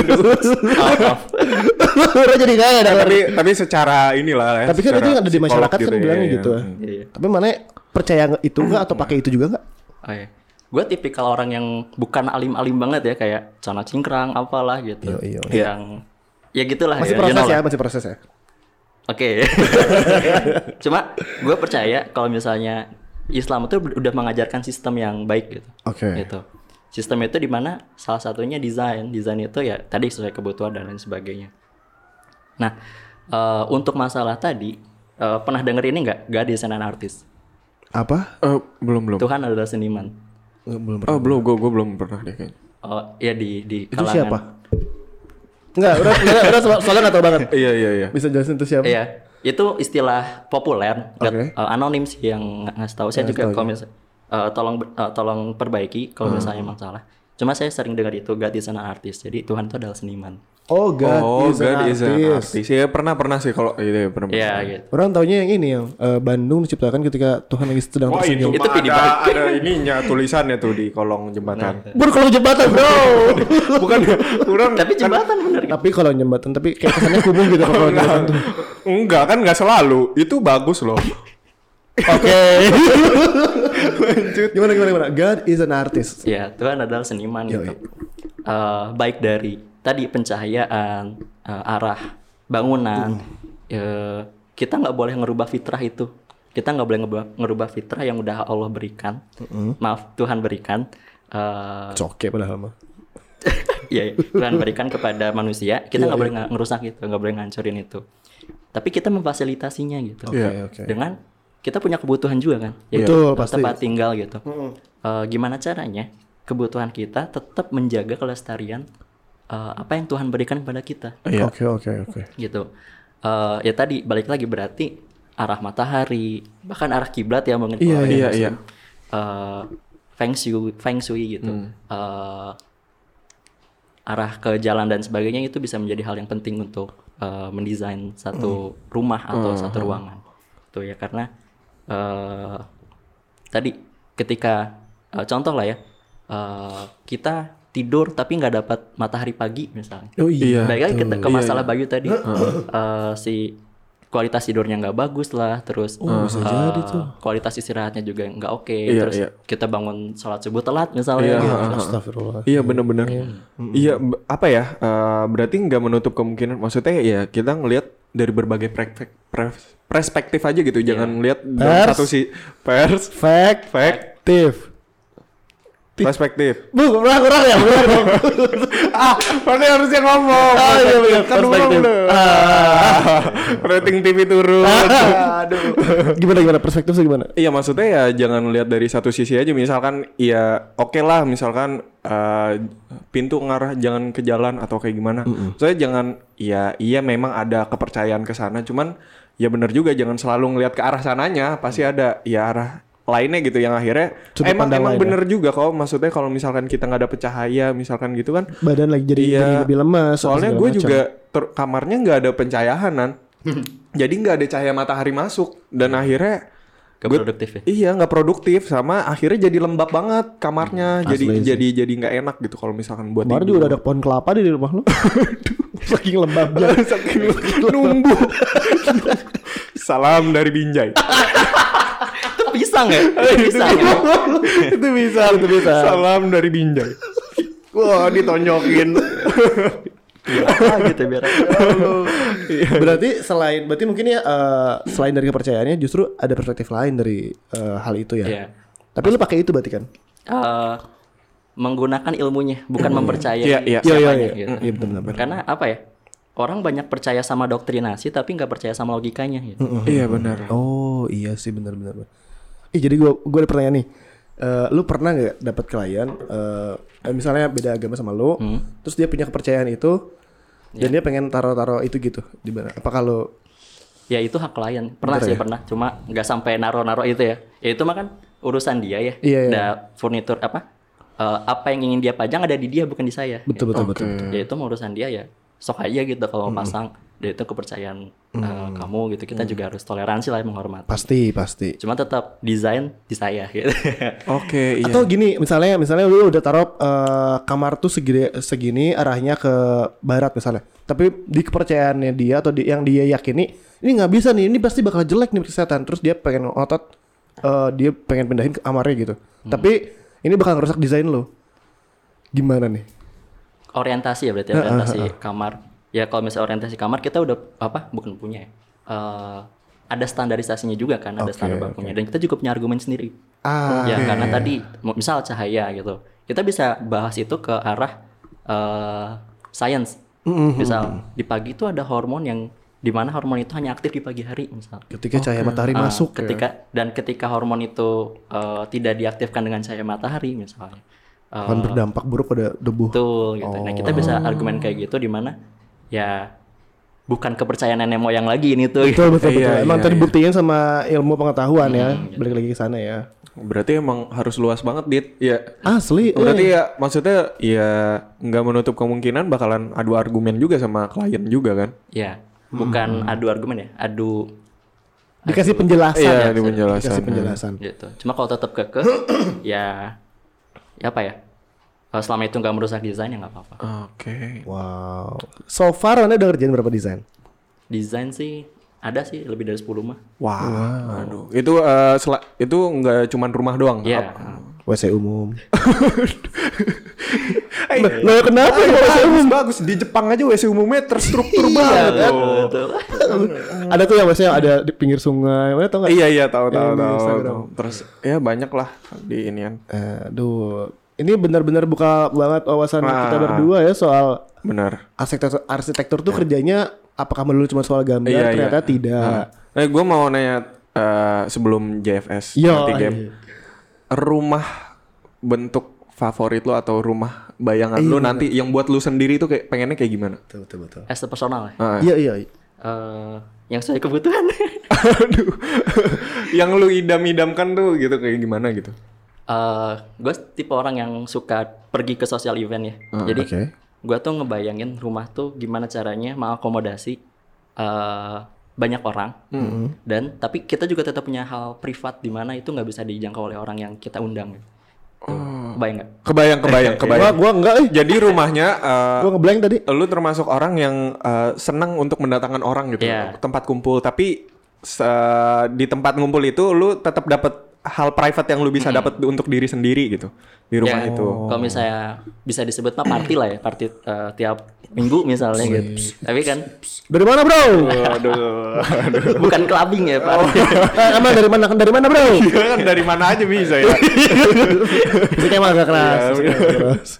Speaker 1: Orang jadi nggak ada.
Speaker 2: Eh, Tapi tapi secara inilah ya.
Speaker 1: Tapi kan itu
Speaker 2: secara
Speaker 1: yang ada di
Speaker 2: psikolog
Speaker 1: masyarakat kan
Speaker 2: ya,
Speaker 1: bilangnya
Speaker 2: iya.
Speaker 1: gitu. ya.
Speaker 3: iya iya
Speaker 1: Tapi mana percaya nggak itu nggak atau pakai itu juga nggak?
Speaker 3: oh, iya. gue tipikal orang yang bukan alim-alim banget ya kayak celana cingkrang apalah gitu
Speaker 1: Iya, iya,
Speaker 3: yang ya gitulah
Speaker 1: Masih
Speaker 3: ya, you
Speaker 1: proses
Speaker 3: know
Speaker 1: ya,
Speaker 3: lah.
Speaker 1: masih proses ya.
Speaker 3: Oke. Cuma gue percaya kalau misalnya Islam itu udah mengajarkan sistem yang baik gitu.
Speaker 1: Oke.
Speaker 3: Gitu. Sistem itu di mana salah satunya desain. Desain itu ya tadi sesuai kebutuhan dan lain sebagainya. Nah, eh, untuk masalah tadi eh, pernah denger ini nggak? Gak desainan artis.
Speaker 1: Apa?
Speaker 2: Eh, belum Eh, belum.
Speaker 3: Tuhan adalah seniman.
Speaker 1: Belum
Speaker 2: Oh belum, gue gue belum pernah deh kayaknya.
Speaker 3: eh, ya di di
Speaker 1: Itu
Speaker 3: kalangan
Speaker 1: siapa? Enggak, udah, udah, udah so- soalnya nggak tahu banget.
Speaker 2: Iya iya iya.
Speaker 1: Bisa jelasin itu siapa?
Speaker 3: Iya, itu istilah populer,
Speaker 1: Oke.
Speaker 3: nggak- eh, anonim sih yang nggak ngasih tahu. Hmm. Saya juga kalau misal- eh, tolong ber- eh, tolong perbaiki kalau misalnya emang salah. Cuma saya sering dengar itu God is an artist. Jadi Tuhan itu adalah seniman.
Speaker 1: Oh, God,
Speaker 2: oh,
Speaker 1: is an
Speaker 2: God is an
Speaker 1: artist.
Speaker 2: artist. Ya pernah pernah sih kalau iya, iya, pernah.
Speaker 3: Iya
Speaker 2: pernah.
Speaker 3: gitu.
Speaker 1: Orang taunya yang ini yang eh, Bandung diciptakan ketika Tuhan lagi sedang
Speaker 2: Wah itu,
Speaker 1: tersenyum.
Speaker 3: Itu
Speaker 2: itu
Speaker 3: pidi
Speaker 2: ada, ada ininya tulisannya tuh di kolong jembatan.
Speaker 3: Nah,
Speaker 1: Berkolong jembatan, bro.
Speaker 2: Bukan kurang
Speaker 3: Tapi jembatan bener kan?
Speaker 1: tapi kalau jembatan, tapi kayak kesannya kubung gitu kalau jembatan tuh.
Speaker 2: enggak kan nggak selalu. Itu bagus loh.
Speaker 1: Iya, Oke. Lanjut. Gimana gimana gimana? God is an artist.
Speaker 3: Iya, Tuhan adalah seniman gitu. Eh, baik dari tadi pencahayaan, eh, arah bangunan. Eh, kita nggak boleh ngerubah fitrah itu. Kita nggak boleh ngerubah, ngerubah fitrah yang udah Allah berikan. Maaf, Tuhan berikan. Eh,
Speaker 1: Coke padahal mah.
Speaker 3: Iya, iya. Tuhan berikan kepada manusia,
Speaker 2: Iya,
Speaker 3: kita nggak boleh nge- ngerusak itu, nggak boleh ngancurin itu. Tapi kita memfasilitasinya gitu.
Speaker 2: Iya.
Speaker 1: oke.
Speaker 3: Dengan kita punya kebutuhan juga kan, yaitu
Speaker 1: Betul,
Speaker 3: tem-
Speaker 1: pasti.
Speaker 3: tempat tinggal gitu. Eh, gimana caranya kebutuhan kita tetap menjaga kelestarian eh, apa yang Tuhan berikan kepada kita
Speaker 2: Iya.
Speaker 1: Oke oke oke.
Speaker 3: gitu. Eh, ya tadi balik lagi berarti arah matahari, bahkan arah kiblat ya mungkin
Speaker 2: Iya, iya,
Speaker 3: kalau yang
Speaker 2: iya.
Speaker 3: Muslim. Eh, feng shui, feng shui gitu.
Speaker 2: Hmm.
Speaker 3: Eh, arah ke jalan dan sebagainya itu bisa menjadi hal yang penting untuk eh, mendesain satu rumah atau satu ruangan. Itu ya karena eh, tadi ketika eh, contoh lah ya eh, kita tidur tapi nggak dapat matahari pagi misalnya.
Speaker 1: Oh iya.
Speaker 3: Baik lagi ke, ke masalah Bayu tadi Eh, si kualitas tidurnya nggak bagus lah, terus eh, kualitas istirahatnya juga nggak oke,
Speaker 2: Iya,
Speaker 3: terus
Speaker 2: iya.
Speaker 3: kita bangun sholat subuh telat misalnya.
Speaker 2: Iya,
Speaker 3: gitu.
Speaker 2: heeh.
Speaker 1: Astagfirullah.
Speaker 2: Iya benar-benar. Iya b- apa ya? eh, berarti nggak menutup kemungkinan. Maksudnya ya kita ngelihat dari berbagai prek- prek- perspektif aja gitu.
Speaker 3: Iya.
Speaker 2: Jangan lihat dalam
Speaker 1: Pers.
Speaker 2: satu si pers
Speaker 1: Fact.
Speaker 2: fact
Speaker 1: Tif.
Speaker 2: perspektif.
Speaker 1: Bu, kurang kurang ya, kurang dong.
Speaker 2: ah, berarti harusnya ngomong.
Speaker 1: Ah, iya, bener.
Speaker 2: Kan belum
Speaker 1: Perspektif. Ah.
Speaker 2: loh. Rating TV turun. Aduh.
Speaker 1: gimana gimana perspektif gimana?
Speaker 2: Iya maksudnya ya jangan lihat dari satu sisi aja misalkan ya oke lah misalkan eh, pintu ngarah jangan ke jalan atau kayak gimana. Saya jangan ya iya memang ada kepercayaan ke sana cuman ya bener juga jangan selalu ngelihat ke arah sananya pasti ada ya arah lainnya gitu yang akhirnya
Speaker 1: Mm. Sudut
Speaker 2: emang
Speaker 1: pandang
Speaker 2: emang
Speaker 1: lain ya?
Speaker 2: bener juga kalau maksudnya kalau misalkan kita nggak dapet cahaya misalkan gitu kan
Speaker 1: Badan lagi jadi,
Speaker 2: Iya.
Speaker 1: jadi lebih lemas.
Speaker 2: Soalnya
Speaker 1: segala
Speaker 2: gue
Speaker 1: macam.
Speaker 2: juga ter- kamarnya nggak ada pencahayanan, jadi nggak ada cahaya matahari masuk dan akhirnya
Speaker 3: Nggak
Speaker 2: gua-
Speaker 3: produktif ya?
Speaker 2: Iya nggak produktif sama akhirnya jadi lembab banget kamarnya, jadi
Speaker 1: asli sih.
Speaker 2: jadi jadi nggak enak gitu kalau misalkan buat
Speaker 1: Kemarin juga udah ada pohon kelapa di rumah lu. Saking lembabnya.
Speaker 2: Saking numbu. Salam dari Binjai.
Speaker 3: Itu pisang ya? Itu pisang. ya?
Speaker 1: itu bisa, itu bisa.
Speaker 2: Salam dari Binjai. Wah ditonjokin.
Speaker 3: Biar apa gitu biar apa.
Speaker 2: Iya,
Speaker 1: berarti selain berarti mungkin ya eh, selain dari kepercayaannya justru ada perspektif lain dari eh, hal itu ya.
Speaker 3: Iya.
Speaker 1: Tapi lu pakai itu berarti kan?
Speaker 3: Eh, menggunakan ilmunya, bukan mempercayai
Speaker 2: Iya, iya.
Speaker 1: Hmm. Iya, iya,
Speaker 3: siapanya,
Speaker 1: iya.
Speaker 3: gitu.
Speaker 1: Iya, benar benar.
Speaker 3: Karena apa ya? Orang banyak percaya sama doktrinasi tapi nggak percaya sama logikanya. Gitu.
Speaker 1: Hmm.
Speaker 2: Iya benar.
Speaker 1: Oh, iya sih benar benar. benar. Ih, jadi gua gua ada pertanyaan nih. Eh, lu pernah nggak dapat klien eh eh, misalnya beda agama sama lu,
Speaker 3: Hmm.
Speaker 1: terus dia punya kepercayaan itu dan
Speaker 3: Iya.
Speaker 1: dia pengen taruh-taruh itu gitu di mana? Apa kalau
Speaker 3: Ya itu hak klien. Pernah
Speaker 1: ya.
Speaker 3: sih pernah, cuma nggak sampai naro-naro itu ya. Ya itu mah kan urusan dia ya.
Speaker 1: Iya, iya.
Speaker 3: Nah, furnitur apa? eh, apa yang ingin dia pajang ada di dia bukan di saya.
Speaker 1: betul Hmm. betul betul.
Speaker 2: Oke.
Speaker 3: Ya itu mah urusan dia ya. Sok aja gitu kalau pasang. Ya itu kepercayaan eh,
Speaker 1: Hmm.
Speaker 3: kamu gitu. Kita juga harus toleransi lah menghormati.
Speaker 1: Pasti, pasti.
Speaker 3: Cuma tetap desain di saya gitu.
Speaker 2: Oke iya.
Speaker 1: Atau gini, misalnya misalnya lu udah taruh eh, kamar tuh segini, segini arahnya ke barat misalnya. Tapi di kepercayaannya dia atau di, yang dia yakini ini nggak bisa nih, ini pasti bakal jelek nih kesehatan. Terus dia pengen otot dia pengen pindahin ke kamarnya gitu.
Speaker 2: Hmm.
Speaker 1: Tapi ini bakal ngerusak desain lo. Gimana nih?
Speaker 3: orientasi ya berarti orientasi kamar. Ya kalau misalnya orientasi kamar kita udah apa? Bukan punya ya. Eh, ada standarisasinya juga kan, ada standar bakunya. Dan kita juga punya argumen sendiri.
Speaker 1: Ah,
Speaker 3: ya karena tadi mo- misal cahaya gitu kita bisa bahas itu ke arah eh, science misal di pagi itu ada hormon yang di mana hormon itu hanya aktif di pagi hari misal
Speaker 2: Oh,
Speaker 1: ketika cahaya matahari
Speaker 3: Ah,
Speaker 1: masuk ya,
Speaker 3: ketika dan ketika hormon itu eh, tidak diaktifkan dengan cahaya matahari misalnya eh,
Speaker 1: akan Oh. berdampak buruk pada debu.
Speaker 3: betul gitu. Nah kita bisa argumen kayak gitu di mana ya bukan kepercayaan nenek moyang lagi ini tuh.
Speaker 1: Betul betul betul.
Speaker 2: Iya, iya,
Speaker 1: Emang
Speaker 2: Hmm.
Speaker 1: tadi buktinya sama ilmu pengetahuan ya. Balik lagi ke sana ya.
Speaker 2: Berarti emang harus luas banget, Dit. Ya.
Speaker 1: Asli. eh.
Speaker 2: Berarti ya maksudnya ya nggak menutup kemungkinan bakalan adu argumen juga sama klien juga kan?
Speaker 3: Ya
Speaker 1: Hmm.
Speaker 3: bukan adu argumen ya, adu
Speaker 1: Dikasih penjelasan.
Speaker 2: Iya,
Speaker 1: ya.
Speaker 2: di penjelasan.
Speaker 1: Dikasih penjelasan.
Speaker 3: gitu. Cuma kalau tetap keke ya ya apa ya? Kalau selama itu nggak merusak desain ya nggak apa-apa.
Speaker 2: Oke.
Speaker 1: Wow. So far Anda udah ngerjain berapa desain?
Speaker 3: Desain sih ada sih lebih dari 10 mah.
Speaker 2: Wah. Aduh. Itu eh, sela- itu nggak cuman rumah doang.
Speaker 3: Ya.
Speaker 2: Ap-
Speaker 1: WC umum. Nah, nah, kenapa ya WC umum?
Speaker 2: Bagus di Jepang aja WC umumnya terstruktur
Speaker 3: Iya,
Speaker 2: banget.
Speaker 3: betul, betul.
Speaker 1: Ada tuh yang WC yang ada di pinggir sungai. Mana tau nggak?
Speaker 2: Iya iya tahu tahu
Speaker 1: Yang di
Speaker 2: tahu.
Speaker 1: Instagram.
Speaker 2: tahu. Terus ya banyak lah di inian.
Speaker 1: Aduh, ini benar-benar buka banget wawasan
Speaker 2: Wah.
Speaker 1: kita berdua ya soal
Speaker 2: Benar.
Speaker 1: arsitektur. Arsitektur tuh kerjanya apakah melulu cuma soal gambar?
Speaker 2: Iya, iya.
Speaker 1: Ternyata tidak.
Speaker 2: Nah, gue mau nanya eh, sebelum JFS
Speaker 1: Iya,
Speaker 2: nanti game.
Speaker 1: iya.
Speaker 2: Rumah bentuk favorit lo atau rumah bayangan lo nanti yang buat lu sendiri tuh kayak pengennya kayak gimana?
Speaker 1: Betul betul betul.
Speaker 3: As a personal ya.
Speaker 2: Ah.
Speaker 1: Iya iya. iya.
Speaker 3: Eh, yang sesuai kebutuhan.
Speaker 2: Aduh. yang lu idam-idamkan tuh gitu kayak gimana gitu.
Speaker 3: gue Eh, tipe orang yang suka pergi ke sosial event ya.
Speaker 2: Ah,
Speaker 3: Jadi
Speaker 1: oke.
Speaker 3: gue tuh ngebayangin rumah tuh gimana caranya mengakomodasi eh, banyak orang.
Speaker 2: Hmm.
Speaker 3: Dan tapi kita juga tetap punya hal privat di mana itu nggak bisa dijangkau oleh orang yang kita undang. gitu.
Speaker 2: Oh.
Speaker 3: Kebayang nggak?
Speaker 2: Kebayang, kebayang,
Speaker 1: Gua
Speaker 2: kebayang.
Speaker 1: gua enggak eh.
Speaker 2: Jadi rumahnya eh,
Speaker 1: Gua ngeblank tadi.
Speaker 2: lu termasuk orang yang uh, senang untuk mendatangkan orang gitu
Speaker 3: Iya.
Speaker 2: tempat kumpul tapi se- di tempat ngumpul itu lu tetap dapat hal private yang lu bisa dapat untuk diri sendiri gitu di rumah
Speaker 1: Iya.
Speaker 3: Ya,
Speaker 2: itu
Speaker 1: Oh.
Speaker 3: Kalau misalnya bisa disebut mah party lah ya, party eh, tiap minggu misalnya gitu. Tapi kan
Speaker 1: Dari mana bro?
Speaker 3: bukan clubbing ya, party.
Speaker 2: Oh.
Speaker 1: Eh, emang dari mana? Dari mana bro?
Speaker 2: kan dari mana aaja bisa ya
Speaker 1: Musiknya emang agak keras. musiknya agak keras.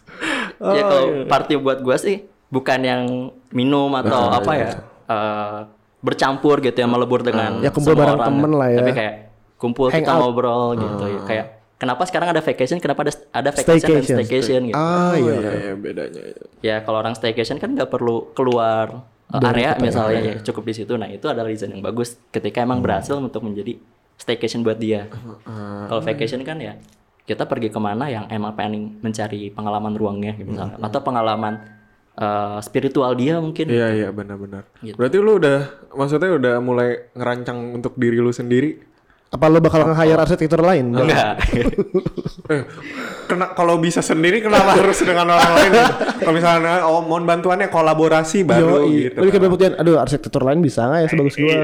Speaker 3: ya kalau party buat gua sih bukan yang minum atau
Speaker 1: Iya,
Speaker 3: apa ya eh, bercampur gitu ya melebur dengan
Speaker 1: Ya, kumpul
Speaker 3: semua
Speaker 1: bareng temen lah ya.
Speaker 3: tapi kayak kumpul
Speaker 1: Hang
Speaker 3: kita
Speaker 1: out.
Speaker 3: ngobrol gitu ya kayak kenapa sekarang ada vacation kenapa ada ada vacation dan
Speaker 1: Staycation.
Speaker 3: staycation gitu
Speaker 1: Ah iya.
Speaker 2: bedanya
Speaker 3: ya kalau orang staycation kan nggak perlu keluar eh, area misalnya ya cukup di situ nah itu adalah reason yang bagus ketika emang berhasil untuk menjadi staycation buat dia kalau vacation kan ya kita pergi kemana yang emang pengen mencari pengalaman ruangnya gitu misalnya atau pengalaman eh, spiritual dia mungkin
Speaker 2: iya iya benar-benar
Speaker 3: Gitu.
Speaker 2: berarti lu udah maksudnya udah mulai ngerancang untuk diri lu sendiri
Speaker 1: Apa lo bakal nge-hire arsitektur lain?
Speaker 3: enggak
Speaker 2: Eh, kena kalau bisa sendiri kenapa harus dengan orang lain gitu? kalau misalnya oh mohon bantuannya kolaborasi baru
Speaker 1: Yoi.
Speaker 2: gitu
Speaker 1: Lo dikasih pembuktian, aduh arsitektur lain bisa nggak ya sebagus gua?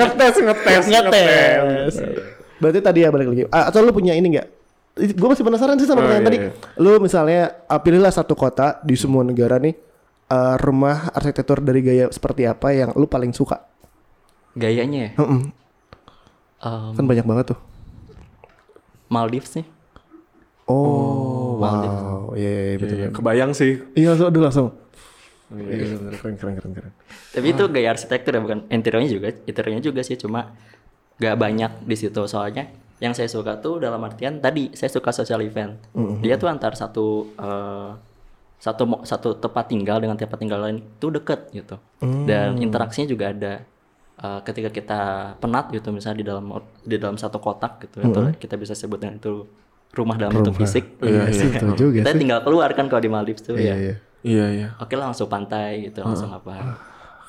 Speaker 2: ngetes ngetes
Speaker 1: ngetes. Berarti tadi ya balik lagi. Ah, Atau lu punya ini nggak? Gue masih penasaran sih sama
Speaker 2: Oh, iya,
Speaker 1: pertanyaan tadi. Lu misalnya ah, pilihlah satu kota di semua negara nih eh, rumah arsitektur dari gaya seperti apa yang lu paling suka?
Speaker 3: gayanya ya
Speaker 1: Mm-mm.
Speaker 3: em,
Speaker 1: Kan banyak banget tuh.
Speaker 3: Um, Maldives nih
Speaker 1: Oh, wow. Iya, iya, iya, betul.
Speaker 2: Iya, kebayang sih
Speaker 1: Iya, langsung aduh langsung. Iya, iya, bener. keren keren keren keren.
Speaker 3: Tapi itu gaya arsitektur ya bukan interiornya juga, interiornya juga sih cuma gak banyak di situ soalnya. Yang saya suka tuh dalam artian tadi saya suka social event.
Speaker 1: Mm-hmm.
Speaker 3: Dia tuh antar satu eh, satu mo- satu tempat tinggal dengan tempat tinggal lain tuh deket gitu.
Speaker 1: Mm.
Speaker 3: Dan interaksinya juga ada Eh, ketika kita penat gitu misalnya di dalam di dalam satu kotak gitu atau kita bisa sebut dengan itu rumah dalam bentuk fisik.
Speaker 1: Mm-hmm. Iya, sih betul juga
Speaker 3: Kita
Speaker 1: sih.
Speaker 3: tinggal keluar kan kalau di Maldives tuh
Speaker 1: Iya, Ah.
Speaker 3: ya.
Speaker 1: iya.
Speaker 2: iya iya
Speaker 3: Oke lah langsung pantai gitu, langsung apa.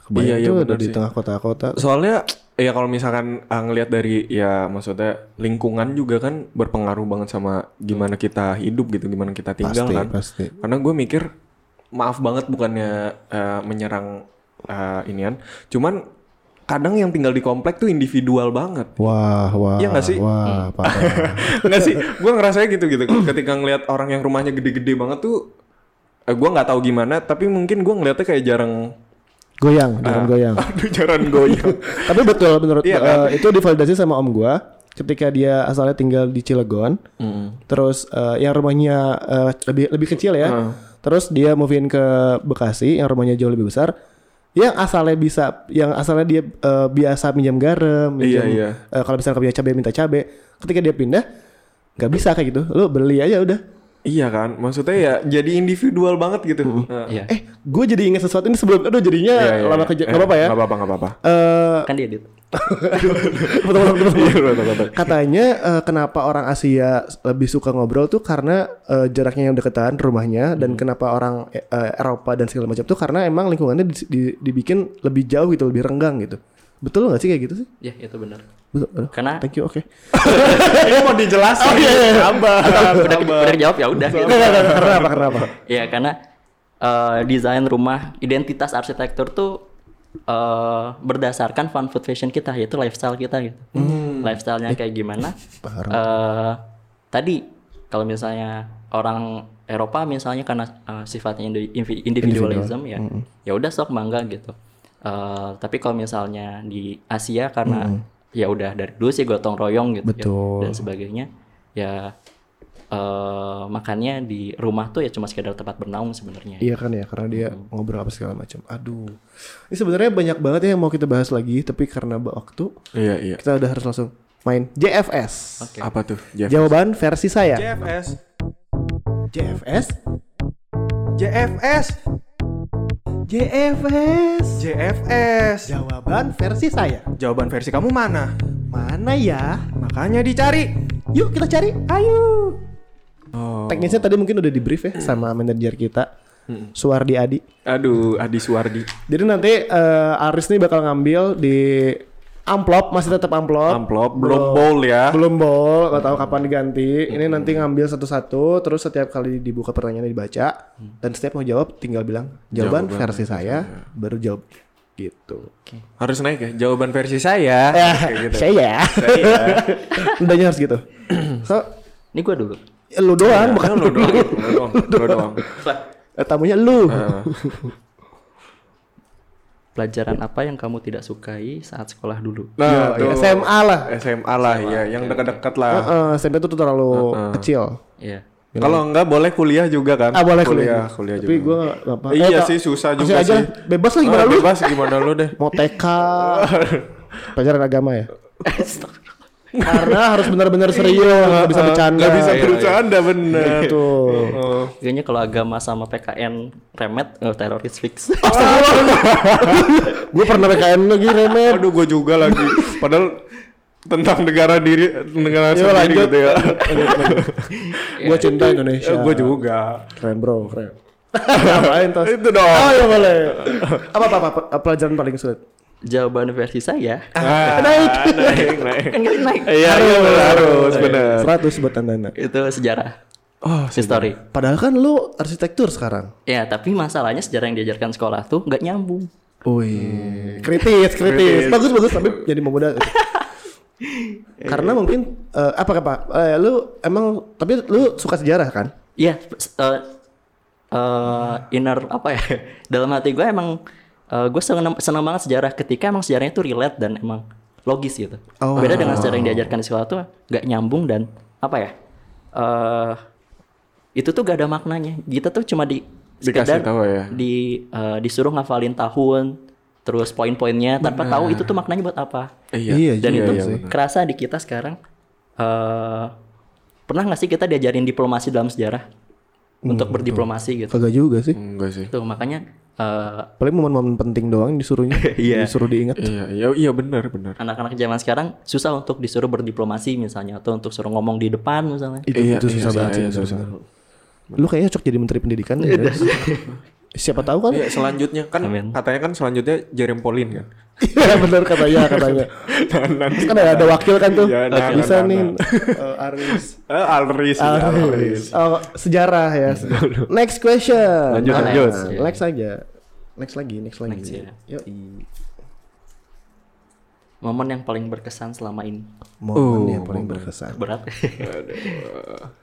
Speaker 1: Kebayang
Speaker 2: Iya, iya,
Speaker 1: tuh ada
Speaker 2: bener
Speaker 1: di
Speaker 2: sih.
Speaker 1: tengah kota-kota.
Speaker 2: soalnya ya kalau misalkan ah, ngelihat dari ya maksudnya lingkungan juga kan berpengaruh banget sama gimana kita hidup gitu gimana kita tinggal
Speaker 1: Pasti,
Speaker 2: kan
Speaker 1: pasti.
Speaker 2: karena gue mikir maaf banget bukannya eh, menyerang eh, inian cuman kadang yang tinggal di komplek tuh individual banget
Speaker 1: Wah, wah,
Speaker 2: Iya nggak sih?
Speaker 1: wah, parah.
Speaker 2: Enggak sih, gue ngerasanya gitu gitu. Ketika ngelihat orang yang rumahnya gede-gede banget tuh, eh, gue nggak tahu gimana, tapi mungkin gue ngeliatnya kayak jarang, Ah.
Speaker 1: goyang, jangan goyang.
Speaker 2: aduh jarang goyang.
Speaker 1: Tapi betul menurut
Speaker 2: Iya
Speaker 1: eh, itu divalidasi sama om gua ketika dia asalnya tinggal di Cilegon.
Speaker 2: Hmm.
Speaker 1: Terus eh, yang rumahnya eh, lebih lebih kecil ya.
Speaker 2: Hmm.
Speaker 1: Terus dia move in ke Bekasi yang rumahnya jauh lebih besar. Yang asalnya bisa yang asalnya dia eh, biasa minjam garam, minjam
Speaker 2: iya.
Speaker 1: eh, kalau misalnya punya cabai minta cabai. Ketika dia pindah nggak bisa kayak gitu. Lu beli aja udah.
Speaker 2: Iya kan, maksudnya ya jadi individual banget gitu. Nah,
Speaker 3: Iya.
Speaker 1: Eh, gue jadi ingat sesuatu ini sebelum, aduh jadinya
Speaker 2: iya, iya,
Speaker 1: lama
Speaker 2: iya.
Speaker 1: kerja,
Speaker 2: Eh,
Speaker 1: nggak apa-apa ya?
Speaker 2: Nggak apa-apa, nggak apa-apa.
Speaker 1: Eh,
Speaker 3: Kan dia edit.
Speaker 1: betul, betul, betul, betul.
Speaker 2: Iya, betul, betul.
Speaker 1: Katanya eh, kenapa orang Asia lebih suka ngobrol tuh karena eh, jaraknya yang deketan rumahnya
Speaker 2: Hmm.
Speaker 1: dan kenapa orang eh, eh, Eropa dan segala macam tuh karena emang lingkungannya di- di- dibikin lebih jauh gitu, lebih renggang gitu. Betul nggak sih kayak gitu sih?
Speaker 3: Ya, itu benar.
Speaker 1: Betul. Aduh,
Speaker 3: Karena
Speaker 1: Thank you, oke.
Speaker 2: Ini mau dijelasin.
Speaker 1: Oh iya, iya, iya.
Speaker 3: udah, udah jawab ya udah gitu.
Speaker 1: Nggak, nggak, nggak, karena apa? Karena apa?
Speaker 3: Ya karena eh, desain rumah, identitas arsitektur tuh eh, berdasarkan fun food fashion kita, yaitu lifestyle kita gitu. Lifestyle-nya kayak gimana? Eh, tadi kalau misalnya orang Eropa misalnya karena eh, sifatnya indi- invi- individualism ya, ya udah sok mangga gitu. Eh, tapi kalau misalnya di Asia karena ya udah dari dulu sih gotong royong gitu ya,
Speaker 1: Betul.
Speaker 3: dan sebagainya, ya eh makannya di rumah tuh ya cuma sekedar tempat bernaung sebenarnya.
Speaker 1: Iya kan ya, karena dia
Speaker 2: Hmm.
Speaker 1: ngobrol apa segala macam. Aduh, ini sebenarnya banyak banget ya yang mau kita bahas lagi, tapi karena waktu
Speaker 2: Iya, iya.
Speaker 1: kita udah harus langsung main JFS.
Speaker 3: Oke.
Speaker 2: Apa tuh, Jeff?
Speaker 1: Jawaban versi saya.
Speaker 2: JFS.
Speaker 4: JFS,
Speaker 2: JFS.
Speaker 4: JFS.
Speaker 2: JFS.
Speaker 4: Jawaban versi saya.
Speaker 2: Jawaban versi kamu mana?
Speaker 4: Mana ya?
Speaker 2: Makanya dicari. Oh.
Speaker 4: Yuk kita cari. Ayo.
Speaker 1: Teknisnya tadi mungkin udah di brief ya sama manajer kita, Suwardi Adi.
Speaker 2: Aduh, Adi Suwardi.
Speaker 1: Jadi nanti eh, Aris nih bakal ngambil di amplop, masih tetap amplop.
Speaker 2: Amplop, belum bowl ya.
Speaker 1: Oh. Belum bol, gak tahu kapan diganti. Ini nanti ngambil satu-satu, terus setiap kali dibuka pertanyaannya dibaca, dan setiap mau jawab tinggal bilang
Speaker 2: Mm.
Speaker 1: jawaban,
Speaker 2: Jawaban
Speaker 1: versi saya, baru jawab gitu.
Speaker 2: Harus naik ya. Jawaban versi saya. Kayak gitu.
Speaker 1: Eh, Saya, udahnya harus gitu. So,
Speaker 3: Ini gua dulu.
Speaker 1: eh, lu doang, bukan
Speaker 2: Bukan lo Nah, doang, lo doang, lo doang.
Speaker 1: eh, tamunya lu.
Speaker 3: Pelajaran apa yang kamu tidak sukai saat sekolah dulu?
Speaker 2: Nah,
Speaker 1: Yo,
Speaker 2: tuh.
Speaker 1: SMA lah.
Speaker 2: SMA lah ya, yang dekat-dekat lah.
Speaker 1: Iya, Heeh, SMP itu tuh terlalu kecil.
Speaker 3: Iya.
Speaker 2: Kalau enggak boleh kuliah juga kan?
Speaker 1: Ah boleh kuliah.
Speaker 2: kuliah,
Speaker 1: Tapi
Speaker 2: juga.
Speaker 1: gue apa.
Speaker 2: Iya sih, susah juga
Speaker 1: Eh, aja
Speaker 2: sih.
Speaker 1: lah, Bebas lah gimana
Speaker 2: Ah,
Speaker 1: lu?
Speaker 2: Bebas gimana lu deh.
Speaker 1: Mau TK. Pelajaran agama ya. Karena harus benar-benar serius, nggak bisa bercanda. Iya.
Speaker 2: Gak Iya, bisa bercanda bener.
Speaker 1: Tuh.
Speaker 3: Kayaknya kalau agama sama PKN remet, eh, teroris fix.
Speaker 1: Gue pernah PKN lagi remet.
Speaker 2: Aduh, gue juga lagi. Padahal tentang negara diri, negara
Speaker 1: Yo,
Speaker 2: sendiri
Speaker 1: lanjut.
Speaker 2: gitu ya.
Speaker 1: Gue cinta Indonesia.
Speaker 2: gue juga.
Speaker 1: Keren bro, keren. Ngapain tas?
Speaker 2: Itu dong.
Speaker 1: Oh ya boleh. Apa apa, apa- apa pelajaran paling sulit?
Speaker 3: Jawaban versi saya.
Speaker 2: Ah, naik, naik, naik.
Speaker 3: Kan nggak naik.
Speaker 2: Iya, iya bener, harus bener.
Speaker 1: 100 buat anda
Speaker 3: Itu sejarah.
Speaker 2: Oh,
Speaker 3: History.
Speaker 1: Padahal kan lu arsitektur sekarang.
Speaker 3: Ya, tapi masalahnya sejarah yang diajarkan sekolah tuh nggak nyambung.
Speaker 1: Wih, Hmm. kritis, kritis, bagus, bagus, tapi jadi memudah. Karena mungkin eh, apa apa, eh, lu emang tapi lu suka sejarah kan?
Speaker 3: Iya, s- eh eh, inner apa ya? Dalam hati gue emang gue seneng, seneng banget sejarah ketika emang sejarahnya tuh relate dan emang logis gitu.
Speaker 1: Oh.
Speaker 3: Beda dengan sejarah yang diajarkan di sekolah tuh nggak nyambung dan apa ya? eh itu tuh gak ada maknanya. Kita tuh cuma di
Speaker 2: Dikasih
Speaker 3: sekedar
Speaker 2: tahu ya.
Speaker 3: di eh, disuruh ngafalin tahun, terus poin-poinnya
Speaker 2: Nah.
Speaker 3: tanpa tahu itu tuh maknanya buat apa.
Speaker 2: Iya,
Speaker 1: Iya,
Speaker 3: Dan
Speaker 1: juga
Speaker 3: itu
Speaker 1: iya,
Speaker 3: kerasa di kita sekarang. eh pernah nggak sih kita diajarin diplomasi dalam sejarah
Speaker 1: Hmm,
Speaker 3: untuk berdiplomasi gitu?
Speaker 1: Kagak juga sih.
Speaker 2: Enggak sih.
Speaker 3: Tuh makanya eh,
Speaker 1: Paling momen-momen penting doang yang disuruhnya,
Speaker 3: Iya.
Speaker 1: disuruh diingat.
Speaker 2: Iya, iya, iya benar, benar.
Speaker 3: anak-anak zaman sekarang susah untuk disuruh berdiplomasi misalnya atau untuk suruh ngomong di depan misalnya.
Speaker 1: Itu,
Speaker 2: Iya,
Speaker 1: itu
Speaker 2: iya,
Speaker 1: susah
Speaker 2: iya,
Speaker 1: banget sih.
Speaker 2: iya,
Speaker 1: bener,
Speaker 2: susah.
Speaker 1: bener. Lu kayaknya cocok jadi menteri pendidikan. ya. Siapa tahu kan?
Speaker 2: Iya, selanjutnya kan
Speaker 3: Amin.
Speaker 2: katanya kan selanjutnya Jerem Pauline kan.
Speaker 1: Iya bener katanya, katanya.
Speaker 2: Dan
Speaker 1: Terus
Speaker 2: Nah, nanti
Speaker 1: kan ada, ada wakil kan tuh,
Speaker 2: Iya, nah,
Speaker 1: bisa
Speaker 2: nah,
Speaker 1: nih
Speaker 2: nah.
Speaker 1: eh, Aris.
Speaker 2: Eh, Alris, ya, Alris.
Speaker 1: Alright. Oh, sejarah ya. next question.
Speaker 2: Lanjut,
Speaker 1: Nah,
Speaker 2: lanjut.
Speaker 1: Next aja. Next lagi, next lagi.
Speaker 3: Next, ya.
Speaker 1: Yoi.
Speaker 3: Momen yang paling berkesan selama ini.
Speaker 2: Oh,
Speaker 1: Momen yang paling berkesan.
Speaker 3: Berat.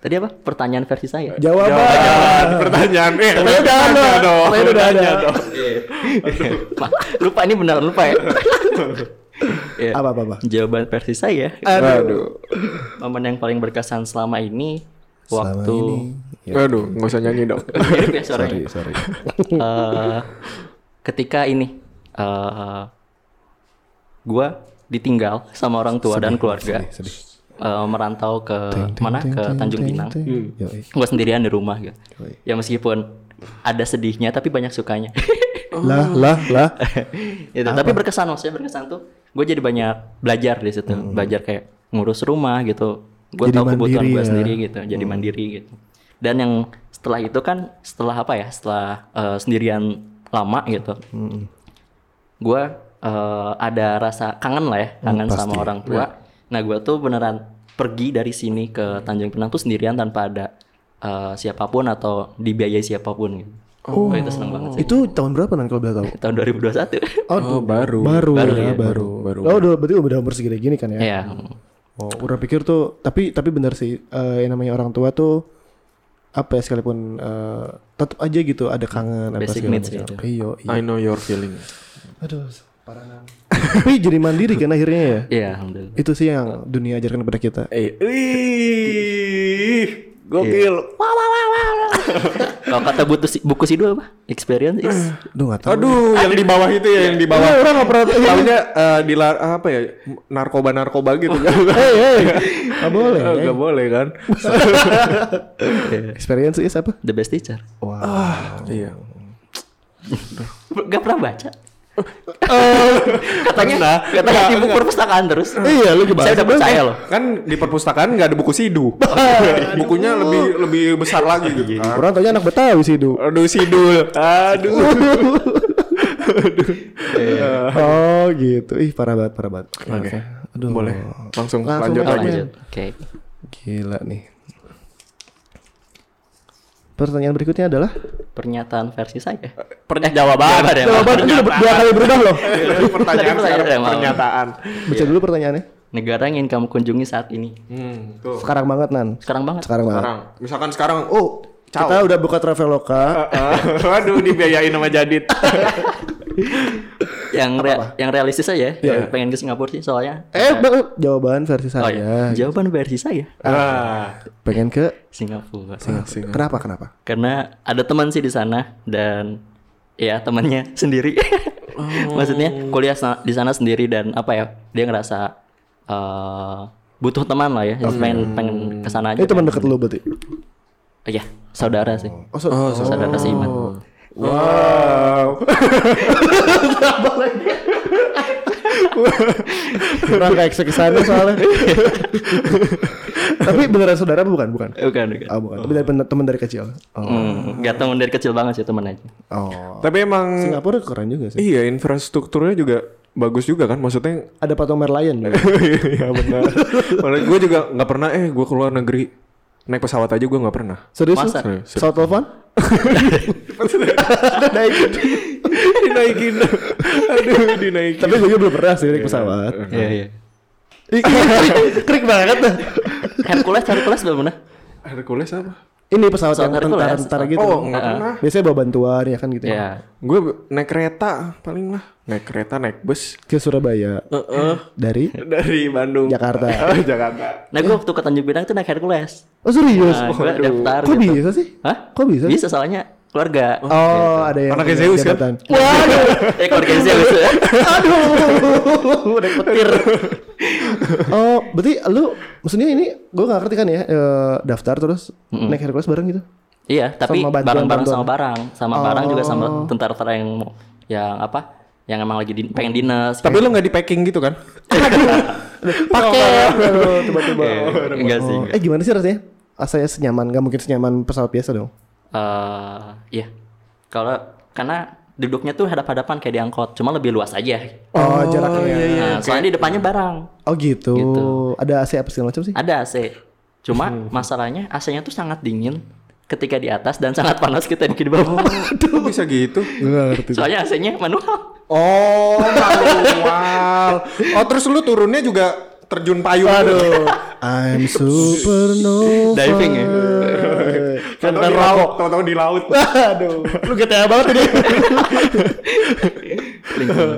Speaker 3: Tadi apa? Pertanyaan versi saya.
Speaker 1: Jawaban.
Speaker 2: Ah, pertanyaan eh
Speaker 1: Tapi udah ada.
Speaker 2: nanya dong.
Speaker 1: Tapi udah Iya. ada.
Speaker 2: Nanya dong.
Speaker 3: Ma- lupa ini beneran lupa ya. Iya.
Speaker 1: Apa apa apa.
Speaker 3: Jawaban versi saya.
Speaker 1: Aduh.
Speaker 3: Momen yang paling berkesan selama ini
Speaker 1: Selama
Speaker 3: waktu
Speaker 1: ini. Ya,
Speaker 2: Aduh, nggak usah nyanyi dong.
Speaker 3: Mirip ya suaranya.
Speaker 1: Sorry, sorry.
Speaker 3: Eh, ketika ini eh gua ditinggal sama orang tua dan keluarga.
Speaker 1: Sedih.
Speaker 3: eh, merantau ke mana ke Tanjung Pinang
Speaker 2: Hmm.
Speaker 1: Yoi.
Speaker 3: gue sendirian di rumah gitu
Speaker 1: Yoi.
Speaker 3: ya meskipun ada sedihnya tapi banyak sukanya
Speaker 1: Lah, lah, lah.
Speaker 3: Gitu, tapi berkesan maksudnya berkesan tuh gue jadi banyak belajar di situ belajar kayak ngurus rumah gitu gue
Speaker 1: Hmm. Jadi
Speaker 3: tahu kebutuhan
Speaker 1: mandiri
Speaker 3: gue
Speaker 1: ya.
Speaker 3: sendiri gitu jadi mandiri gitu dan yang setelah itu kan setelah apa ya setelah eh, sendirian lama gitu
Speaker 1: Hmm.
Speaker 3: gue eh, ada rasa kangen lah ya
Speaker 1: Hmm,
Speaker 3: kangen sama
Speaker 1: Iya.
Speaker 3: orang tua nah gue tuh beneran pergi dari sini ke Tanjung Pinang tuh sendirian tanpa ada eh, siapapun atau dibiayai siapapun gitu oh, itu seneng banget sih
Speaker 1: Itu tahun berapa nanti kalau boleh tahu?
Speaker 3: tahun 2021
Speaker 2: Oh, baru.
Speaker 1: Baru,
Speaker 3: Baru
Speaker 1: ya,
Speaker 3: ya,
Speaker 1: baru.
Speaker 2: baru.
Speaker 1: Oh, udah berarti udah umur segini gini kan ya?
Speaker 3: Iya.
Speaker 1: Oh, udah pikir tuh, tapi tapi benar sih eh, yang namanya orang tua tuh apa ya sekalipun eh, tetap aja gitu ada kangen apa
Speaker 3: Basic
Speaker 1: segala
Speaker 3: needs
Speaker 1: macam.
Speaker 3: gitu.
Speaker 1: Iya, iya.
Speaker 2: I know your feeling.
Speaker 1: Aduh, parah nang. Tapi jadi mandiri kan akhirnya ya.
Speaker 3: Iya, alhamdulillah.
Speaker 1: Itu sih yang dunia ajarkan kepada kita.
Speaker 2: Eh, wih, gokil. Wah, wah, wah, wah, wah.
Speaker 3: Kalau kata buku, buku sidul apa? Experience is
Speaker 1: Aduh, nggak tahu.
Speaker 2: Aduh, yang di bawah itu ya, yang di bawah. Orang nggak pernah tahunya eh, di lar- apa ya narkoba narkoba gitu kan?
Speaker 1: Hey, hey. Nggak boleh. ya.
Speaker 2: Eh, nggak boleh kan?
Speaker 1: Experience is apa?
Speaker 3: the best teacher.
Speaker 1: Wah.
Speaker 2: Iya.
Speaker 3: Gak pernah baca. katanya katanya di buku perpustakaan terus.
Speaker 1: Iya, lu gimana?
Speaker 3: Saya udah percaya loh.
Speaker 2: Kan di perpustakaan nggak ada buku sidu. Bukunya lebih lebih besar lagi gitu. kan.
Speaker 1: Ah, Orang tanya anak Betawi sih, Du.
Speaker 2: Aduh sidul. Aduh.
Speaker 1: Oh, gitu. Ih, parah banget, parah banget. Oke. Aduh.
Speaker 2: Boleh. Langsung,
Speaker 1: Langsung
Speaker 2: lanjut
Speaker 3: Oh,
Speaker 2: aja.
Speaker 3: lanjut. Oke.
Speaker 1: Gila nih. Pertanyaan berikutnya adalah
Speaker 3: Pernyataan versi saya.
Speaker 2: per-
Speaker 3: eh, jawaban ada
Speaker 1: Jawaban itu udah dua kali berubah loh.
Speaker 2: Dari pertanyaan
Speaker 3: Tadi
Speaker 2: sekarang
Speaker 3: pertanyaan.
Speaker 2: pernyataan.
Speaker 1: Baca dulu pertanyaannya.
Speaker 3: Negara yang ingin kamu kunjungi saat ini.
Speaker 2: Hmm, tuh.
Speaker 1: Sekarang banget, Nan.
Speaker 3: Sekarang banget.
Speaker 1: Sekarang banget.
Speaker 2: Sekarang, Ah. misalkan sekarang, oh,
Speaker 1: Kita udah buka Traveloka.
Speaker 2: Eh, Waduh dibiayain sama Jadit.
Speaker 3: Yang re- yang realistis aja
Speaker 1: Iya,
Speaker 3: ya. Pengen ke Singapura sih soalnya.
Speaker 1: Eh, Bang, jawaban versi saya.
Speaker 3: Oh iya. Jawaban versi saya
Speaker 2: ah,
Speaker 1: Pengen ke
Speaker 3: Singapura.
Speaker 1: Ah, Kenapa? Kenapa?
Speaker 3: karena ada teman sih di sana dan ya temannya sendiri maksudnya kuliah sa- di sana sendiri dan apa ya dia ngerasa eh, butuh teman lah ya Jadi pengen pengen kesana aja
Speaker 1: Ini Eh, teman dekat lu berarti.
Speaker 3: iya saudara sih
Speaker 1: Oh, so-
Speaker 3: saudara seiman
Speaker 2: Wow.
Speaker 1: kurang kayak ke sana soalnya. Tapi beneran saudara apa bukan? Bukan.
Speaker 3: Eh, bukan bukan
Speaker 1: Oh, bukan. Tapi dari pen- teman dari kecil. Oh.
Speaker 3: Hmm, nggak teman dari kecil banget sih teman aja
Speaker 1: oh.
Speaker 2: Tapi emang
Speaker 1: Singapura keren juga sih.
Speaker 2: iya infrastrukturnya juga bagus juga kan maksudnya
Speaker 1: Ada patung merlion.
Speaker 2: iya benar. gue juga nggak pernah eh gue keluar negeri naik pesawat aja gue nggak pernah.
Speaker 1: Serius? lu?
Speaker 3: Masa?
Speaker 2: Serius.
Speaker 1: Pesawat telepon?
Speaker 2: dinaikin. Aduh dinaikin.
Speaker 1: Tapi gue juga belum pernah sih naik pesawat.
Speaker 2: Eh,
Speaker 3: iya iya
Speaker 1: Ih, krik- Krik banget dah.
Speaker 3: Hercules Hercules belum pernah
Speaker 2: Hercules apa?
Speaker 1: Ini pesawat
Speaker 3: ya, Pesawat
Speaker 1: yang
Speaker 3: Hercules.
Speaker 1: tentara-tentara gitu.
Speaker 2: Oh nggak pernah.
Speaker 1: Biasanya bawa bantuan ya kan gitu.
Speaker 3: ya
Speaker 1: ya.
Speaker 2: Gue naik kereta paling lah. Naik kereta naik bus.
Speaker 1: Ke Surabaya dari
Speaker 2: Dari Bandung.
Speaker 1: Jakarta.
Speaker 2: Oh, Jakarta.
Speaker 3: nah gue waktu ke Tanjung Pinang tuh naik Hercules
Speaker 1: Oh serius?
Speaker 3: nah, gue
Speaker 1: Waduh.
Speaker 3: daftar
Speaker 1: Kok
Speaker 3: gitu
Speaker 1: bisa sih?
Speaker 3: Hah?
Speaker 1: Kok bisa?
Speaker 3: bisa soalnya keluarga
Speaker 1: Oh, ada yang
Speaker 2: Anaknya
Speaker 1: punya
Speaker 2: Zeus, kan?
Speaker 1: jabatan.
Speaker 3: eh keluarga Zeus
Speaker 1: Aduh, udah petir. oh, berarti lu maksudnya ini gue gak ngerti kan ya eh, daftar terus naik Hercules bareng gitu.
Speaker 3: Iya, tapi
Speaker 1: Sama bantuan- bantuan.
Speaker 3: barang-barang
Speaker 1: Oh.
Speaker 3: sama barang, sama barang juga sama tentara-tentara yang mau- yang apa? Yang emang lagi di- pengen dinas.
Speaker 2: Tapi lu nggak di packing gitu kan?
Speaker 1: Pakai. Aduh, tiba-tiba.
Speaker 3: pengen- enggak Iya, sih.
Speaker 1: Oh,
Speaker 3: enggak.
Speaker 1: eh gimana sih rasanya? Rasanya senyaman, gak mungkin senyaman pesawat biasa dong.
Speaker 3: Eh, iya. Kalau karena duduknya tuh hadap-hadapan kayak di angkot, cuma lebih luas aja.
Speaker 1: Oh, jaraknya.
Speaker 3: nah, soalnya di depannya barang.
Speaker 1: Oh gitu.
Speaker 3: Gitu.
Speaker 1: Ada AC apa segala macam sih?
Speaker 3: Ada AC. Cuma
Speaker 1: Hmm.
Speaker 3: masalahnya AC-nya tuh sangat dingin ketika di atas dan sangat panas ketika
Speaker 1: Oh.
Speaker 3: di bawah.
Speaker 2: Aduh bisa gitu.
Speaker 1: Gue gak ngerti.
Speaker 3: soalnya AC-nya manual.
Speaker 2: Oh, manual. Oh, terus lu turunnya juga terjun payung. gitu. Aduh.
Speaker 1: I'm supernova.
Speaker 3: Diving ya.
Speaker 2: Tahu-tahu di laut, tahu-tahu di laut.
Speaker 1: Aduh, lu GTA banget ini.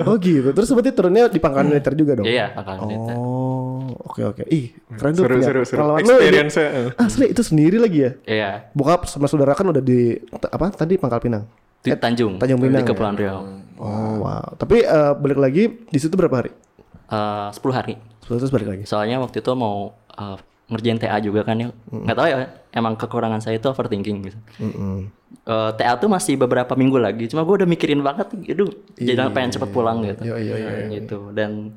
Speaker 1: oh gitu. Terus berarti turunnya di pangkalan militer juga dong.
Speaker 3: Iya, bakal cerita.
Speaker 1: Oh, oke oke. Ih, keren tuh.
Speaker 2: Seru,
Speaker 1: punya
Speaker 2: seru, seru.
Speaker 1: pengalaman. Lu ini-
Speaker 2: Experience-nya.
Speaker 1: Asli itu sendiri lagi ya.
Speaker 3: Iya.
Speaker 1: Bokap sama saudara kan udah di t- apa tadi Pangkal Pinang.
Speaker 3: Di
Speaker 1: Eh,
Speaker 3: Tanjung,
Speaker 1: Tanjung
Speaker 3: di
Speaker 1: Pinang. ya?
Speaker 3: Kepulauan Riau.
Speaker 1: Oh, wow. Tapi eh, balik lagi di situ berapa hari?
Speaker 3: Eh, 10 hari.
Speaker 1: Terus terus balik lagi.
Speaker 3: Soalnya waktu itu mau eh, ngerjain TA juga kan ya. Nggak tahu ya emang kekurangan saya itu overthinking gitu. Eh, TA tuh masih beberapa minggu lagi. Cuma gue udah mikirin banget, aduh,
Speaker 2: Iya,
Speaker 3: jadi pengen cepet pulang gitu. Gitu dan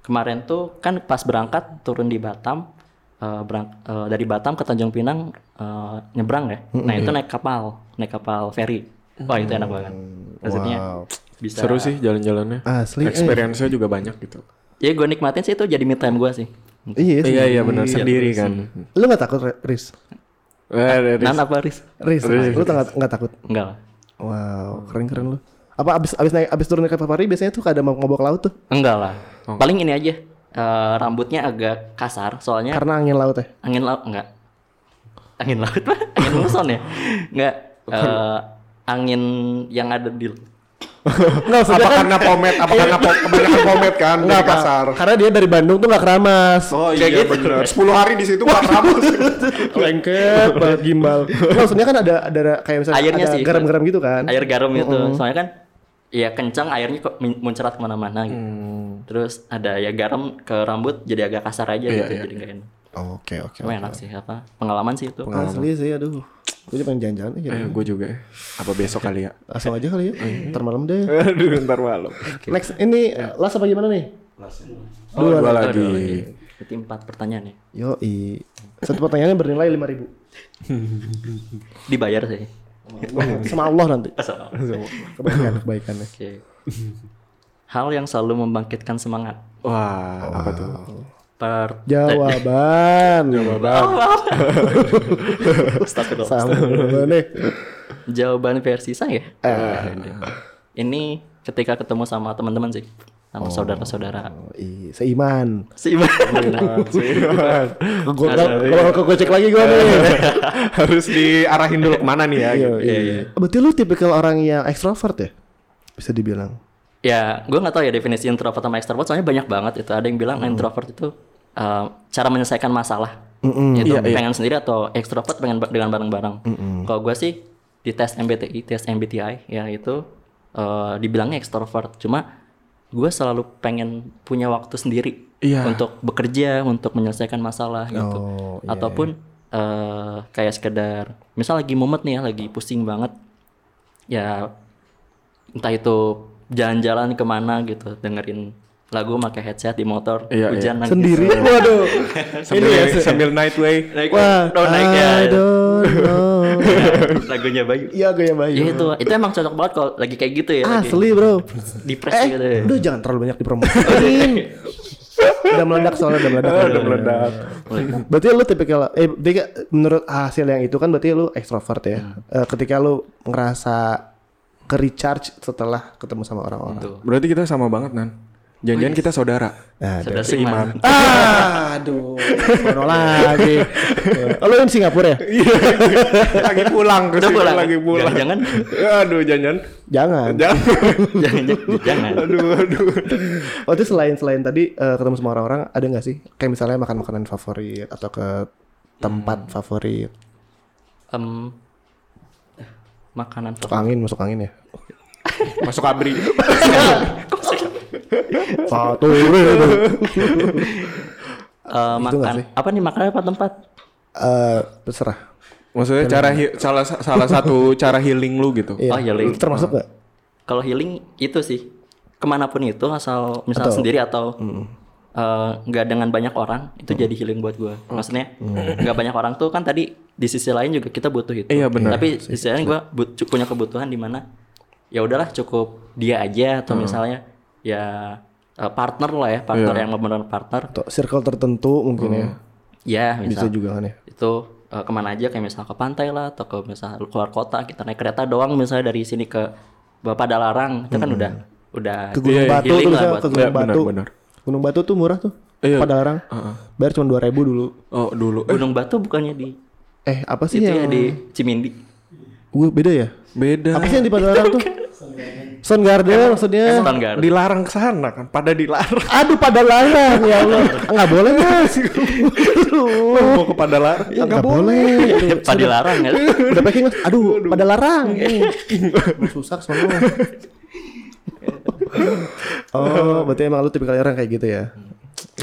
Speaker 3: kemarin tuh kan pas berangkat turun di Batam, eh, berang- eh, dari Batam ke Tanjung Pinang eh, nyebrang ya. Nah itu naik kapal, naik kapal feri. Wah itu enak banget. Maksudnya bisa.
Speaker 2: Seru sih jalan-jalannya.
Speaker 1: Asli, eh.
Speaker 2: Experience-nya juga banyak gitu.
Speaker 3: Ya gue nikmatin sih itu jadi mid time gue sih.
Speaker 1: Iya sih.
Speaker 2: Iya iya benar sendiri kan.
Speaker 1: Lu gak takut Re- Riz?
Speaker 2: Eh, dari-
Speaker 3: Nan apa Riz?
Speaker 1: Riz, lu gak, gak takut?
Speaker 3: Enggak lah.
Speaker 1: Wow, keren-keren lu. Apa abis, abis, naik, abis turun ke Papari biasanya tuh kadang mau ngobok laut tuh?
Speaker 3: Enggak lah.
Speaker 1: Oh.
Speaker 3: Paling ini aja. eh, rambutnya agak kasar soalnya
Speaker 1: Karena angin laut ya?
Speaker 3: angin laut enggak. Angin laut mah angin muson ya? Enggak. eh, angin yang ada di
Speaker 1: Enggak,
Speaker 2: apa karena pomet? Apa karena po- kebanyakan pomet kan dari kasar?
Speaker 1: Karena dia dari Bandung tuh gak keramas.
Speaker 2: Oh iya benar. 10 hari di situ gak rambut.
Speaker 1: Lengket banget gimbal. Nggak, maksudnya kan ada ada kayak misalnya
Speaker 3: Airnya
Speaker 1: ada
Speaker 3: sih.
Speaker 1: garam-garam gitu kan.
Speaker 3: air garam itu. Soalnya kan ya kencang airnya kok min- muncrat kemana-mana gitu.
Speaker 1: Hmm.
Speaker 3: Terus ada ya garam ke rambut jadi agak kasar aja gitu jadi nggak enak.
Speaker 1: Oke, Iya, oke.
Speaker 3: Cuma enak sih apa pengalaman sih itu.
Speaker 1: Asli sih aduh. Gue juga pengen jalan-jalan aja.
Speaker 2: Eh, gue juga. ya. Apa besok kali ya?
Speaker 1: Langsung aja kali ya. Ntar malam deh.
Speaker 2: Aduh, ntar malam.
Speaker 1: Next ini eh, last apa gimana nih? Oh,
Speaker 2: Dua, lagi.
Speaker 3: Berarti empat pertanyaan ya.
Speaker 1: Yoi. Satu pertanyaannya bernilai 5000
Speaker 3: Dibayar sih.
Speaker 1: Sama Allah nanti.
Speaker 3: Asal.
Speaker 1: Kebaikan, kebaikannya.
Speaker 3: Oke. Hal yang selalu membangkitkan semangat.
Speaker 2: Wah, apa tuh?
Speaker 3: Per
Speaker 1: Ya. Jawaban. Jawaban. Oh.
Speaker 3: Astagfirullah.
Speaker 1: Sama nih.
Speaker 3: Jawaban versi saya.
Speaker 1: Eh.
Speaker 3: Ini ketika ketemu sama teman-teman sih, sama saudara-saudara.
Speaker 1: Oh, iya, Seiman.
Speaker 3: Si Iman.
Speaker 1: Nah, Gue kalau gue cek lagi gue nih.
Speaker 2: Harus diarahin dulu kemana nih ya? gitu.
Speaker 1: Ya, gitu. Iya, iya. Berarti lu tipikal orang yang ekstrovert ya? Bisa dibilang.
Speaker 3: ya, gue nggak tahu ya definisi introvert sama extrovert. Soalnya banyak banget itu. Ada yang bilang introvert itu eh, cara menyelesaikan masalah. Itu pengen sendiri atau extrovert pengen ba- dengan bareng-bareng. Kalau gue sih di tes MBTI, tes MBTI ya itu eh, dibilangnya extrovert. Cuma gue selalu pengen punya waktu sendiri
Speaker 2: Iya.
Speaker 3: untuk bekerja, untuk menyelesaikan masalah gitu.
Speaker 1: Oh,
Speaker 2: Iya,
Speaker 3: Ataupun eh, kayak sekedar misal lagi mumet nih ya, lagi pusing banget. Ya entah itu jalan-jalan kemana gitu, dengerin lagu pakai headset di motor,
Speaker 2: Iya,
Speaker 3: hujan nangis.
Speaker 1: Sendiri? Waduh.
Speaker 2: Sambil, sambil night way.
Speaker 3: Naik,
Speaker 1: Wah,
Speaker 3: down naik ya.
Speaker 1: I don't know.
Speaker 3: Lagunya Bayu.
Speaker 1: Iya gue yang bayu.
Speaker 3: Ya itu, itu emang cocok banget kalau lagi kayak gitu
Speaker 2: Ah,
Speaker 3: ya. lagi
Speaker 1: Asli bro.
Speaker 3: Depres
Speaker 1: Eh,
Speaker 3: gitu ya.
Speaker 1: udah jangan terlalu banyak dipromosiin. udah meledak soalnya udah meledak.
Speaker 2: Iya,
Speaker 1: udah meledak. Berarti lu tipikal eh berarti ka- menurut hasil yang itu kan berarti lu ekstrovert ya.
Speaker 3: Hmm.
Speaker 1: Eh, ketika lu ngerasa ke recharge setelah ketemu sama orang-orang.
Speaker 3: Tuh.
Speaker 2: Berarti kita sama banget, Nan.
Speaker 1: Oh, iya.
Speaker 2: Jangan-jangan kita saudara.
Speaker 1: Nah,
Speaker 3: Sudah seiman.
Speaker 1: Ah, aduh, sono lagi. Oh, lu yang Singapura ya?
Speaker 3: Iya.
Speaker 2: lagi pulang ke
Speaker 3: Udah
Speaker 2: sini,
Speaker 3: pulang.
Speaker 2: lagi pulang.
Speaker 3: Jangan.
Speaker 2: Aduh, jangan.
Speaker 1: Jangan.
Speaker 2: Jangan.
Speaker 3: jangan, jangan, jangan.
Speaker 2: aduh, aduh.
Speaker 1: Oh, itu selain selain tadi eh, ketemu sama orang-orang, ada nggak sih kayak misalnya makan makanan favorit atau ke tempat
Speaker 3: Hmm.
Speaker 1: favorit?
Speaker 3: Em, eh, makanan
Speaker 1: Masuk angin, masuk angin ya.
Speaker 2: Masuk abri.
Speaker 1: Satu. Eh,
Speaker 3: Eh, makan apa nih makanan apa tempat?
Speaker 1: terserah.
Speaker 2: Maksudnya cara hi- salah salah satu cara healing lu gitu.
Speaker 1: Iya.
Speaker 3: Oh, iya, Li.
Speaker 1: Lu Termasuk nggak?
Speaker 3: Kalau healing itu sih kemanapun itu asal misal sendiri atau eh, nggak dengan banyak orang itu jadi healing buat gue. Maksudnya nggak banyak orang tuh kan tadi di sisi lain juga kita butuh itu.
Speaker 2: Iya, benar.
Speaker 3: Tapi di sisi lain gue punya kebutuhan di mana ya udahlah cukup dia aja atau misalnya ya eh, partner lah ya partner yang benar-benar partner.
Speaker 1: Atau circle tertentu mungkin ya.
Speaker 3: Ya
Speaker 1: Bisa
Speaker 3: misal
Speaker 1: juga kan ya.
Speaker 3: itu eh, kemana aja kayak misalnya ke pantai lah atau ke misalnya keluar kota kita naik kereta doang misalnya dari sini ke Bapak Dalarang itu kan udah udah
Speaker 1: Hmm. Ke Gunung
Speaker 3: ya, healing
Speaker 1: Batu tuh
Speaker 3: lah
Speaker 1: misalnya,
Speaker 3: buat-
Speaker 1: ke Gunung
Speaker 2: Iya, benar,
Speaker 1: Batu.
Speaker 2: benar.
Speaker 1: Gunung Batu tuh murah tuh.
Speaker 2: Iya.
Speaker 1: Pada orang.
Speaker 3: Ah,
Speaker 1: Bayar cuma 2000 dulu.
Speaker 2: Oh, dulu. Eh,
Speaker 3: Gunung Batu bukannya di
Speaker 1: Eh, apa sih
Speaker 3: itu
Speaker 1: yang
Speaker 3: ya di Cimindi
Speaker 1: Wih, beda ya?
Speaker 2: beda.
Speaker 1: Apa sih yang di Padalarang tuh? Sun Garden maksudnya.
Speaker 3: Sultan Garut.
Speaker 2: Dilarang ke sana kan, pada dilarang.
Speaker 1: Aduh Padalarang ya Allah. Enggak boleh Mas.
Speaker 2: Mau ke Padalarang. Ya,
Speaker 1: Enggak Iya, boleh.
Speaker 3: Pak Dilarang ya
Speaker 1: Udah packing Mas. Aduh, Padalarang. Susah sono. Oh, berarti emang lu tipikal orang kayak gitu ya.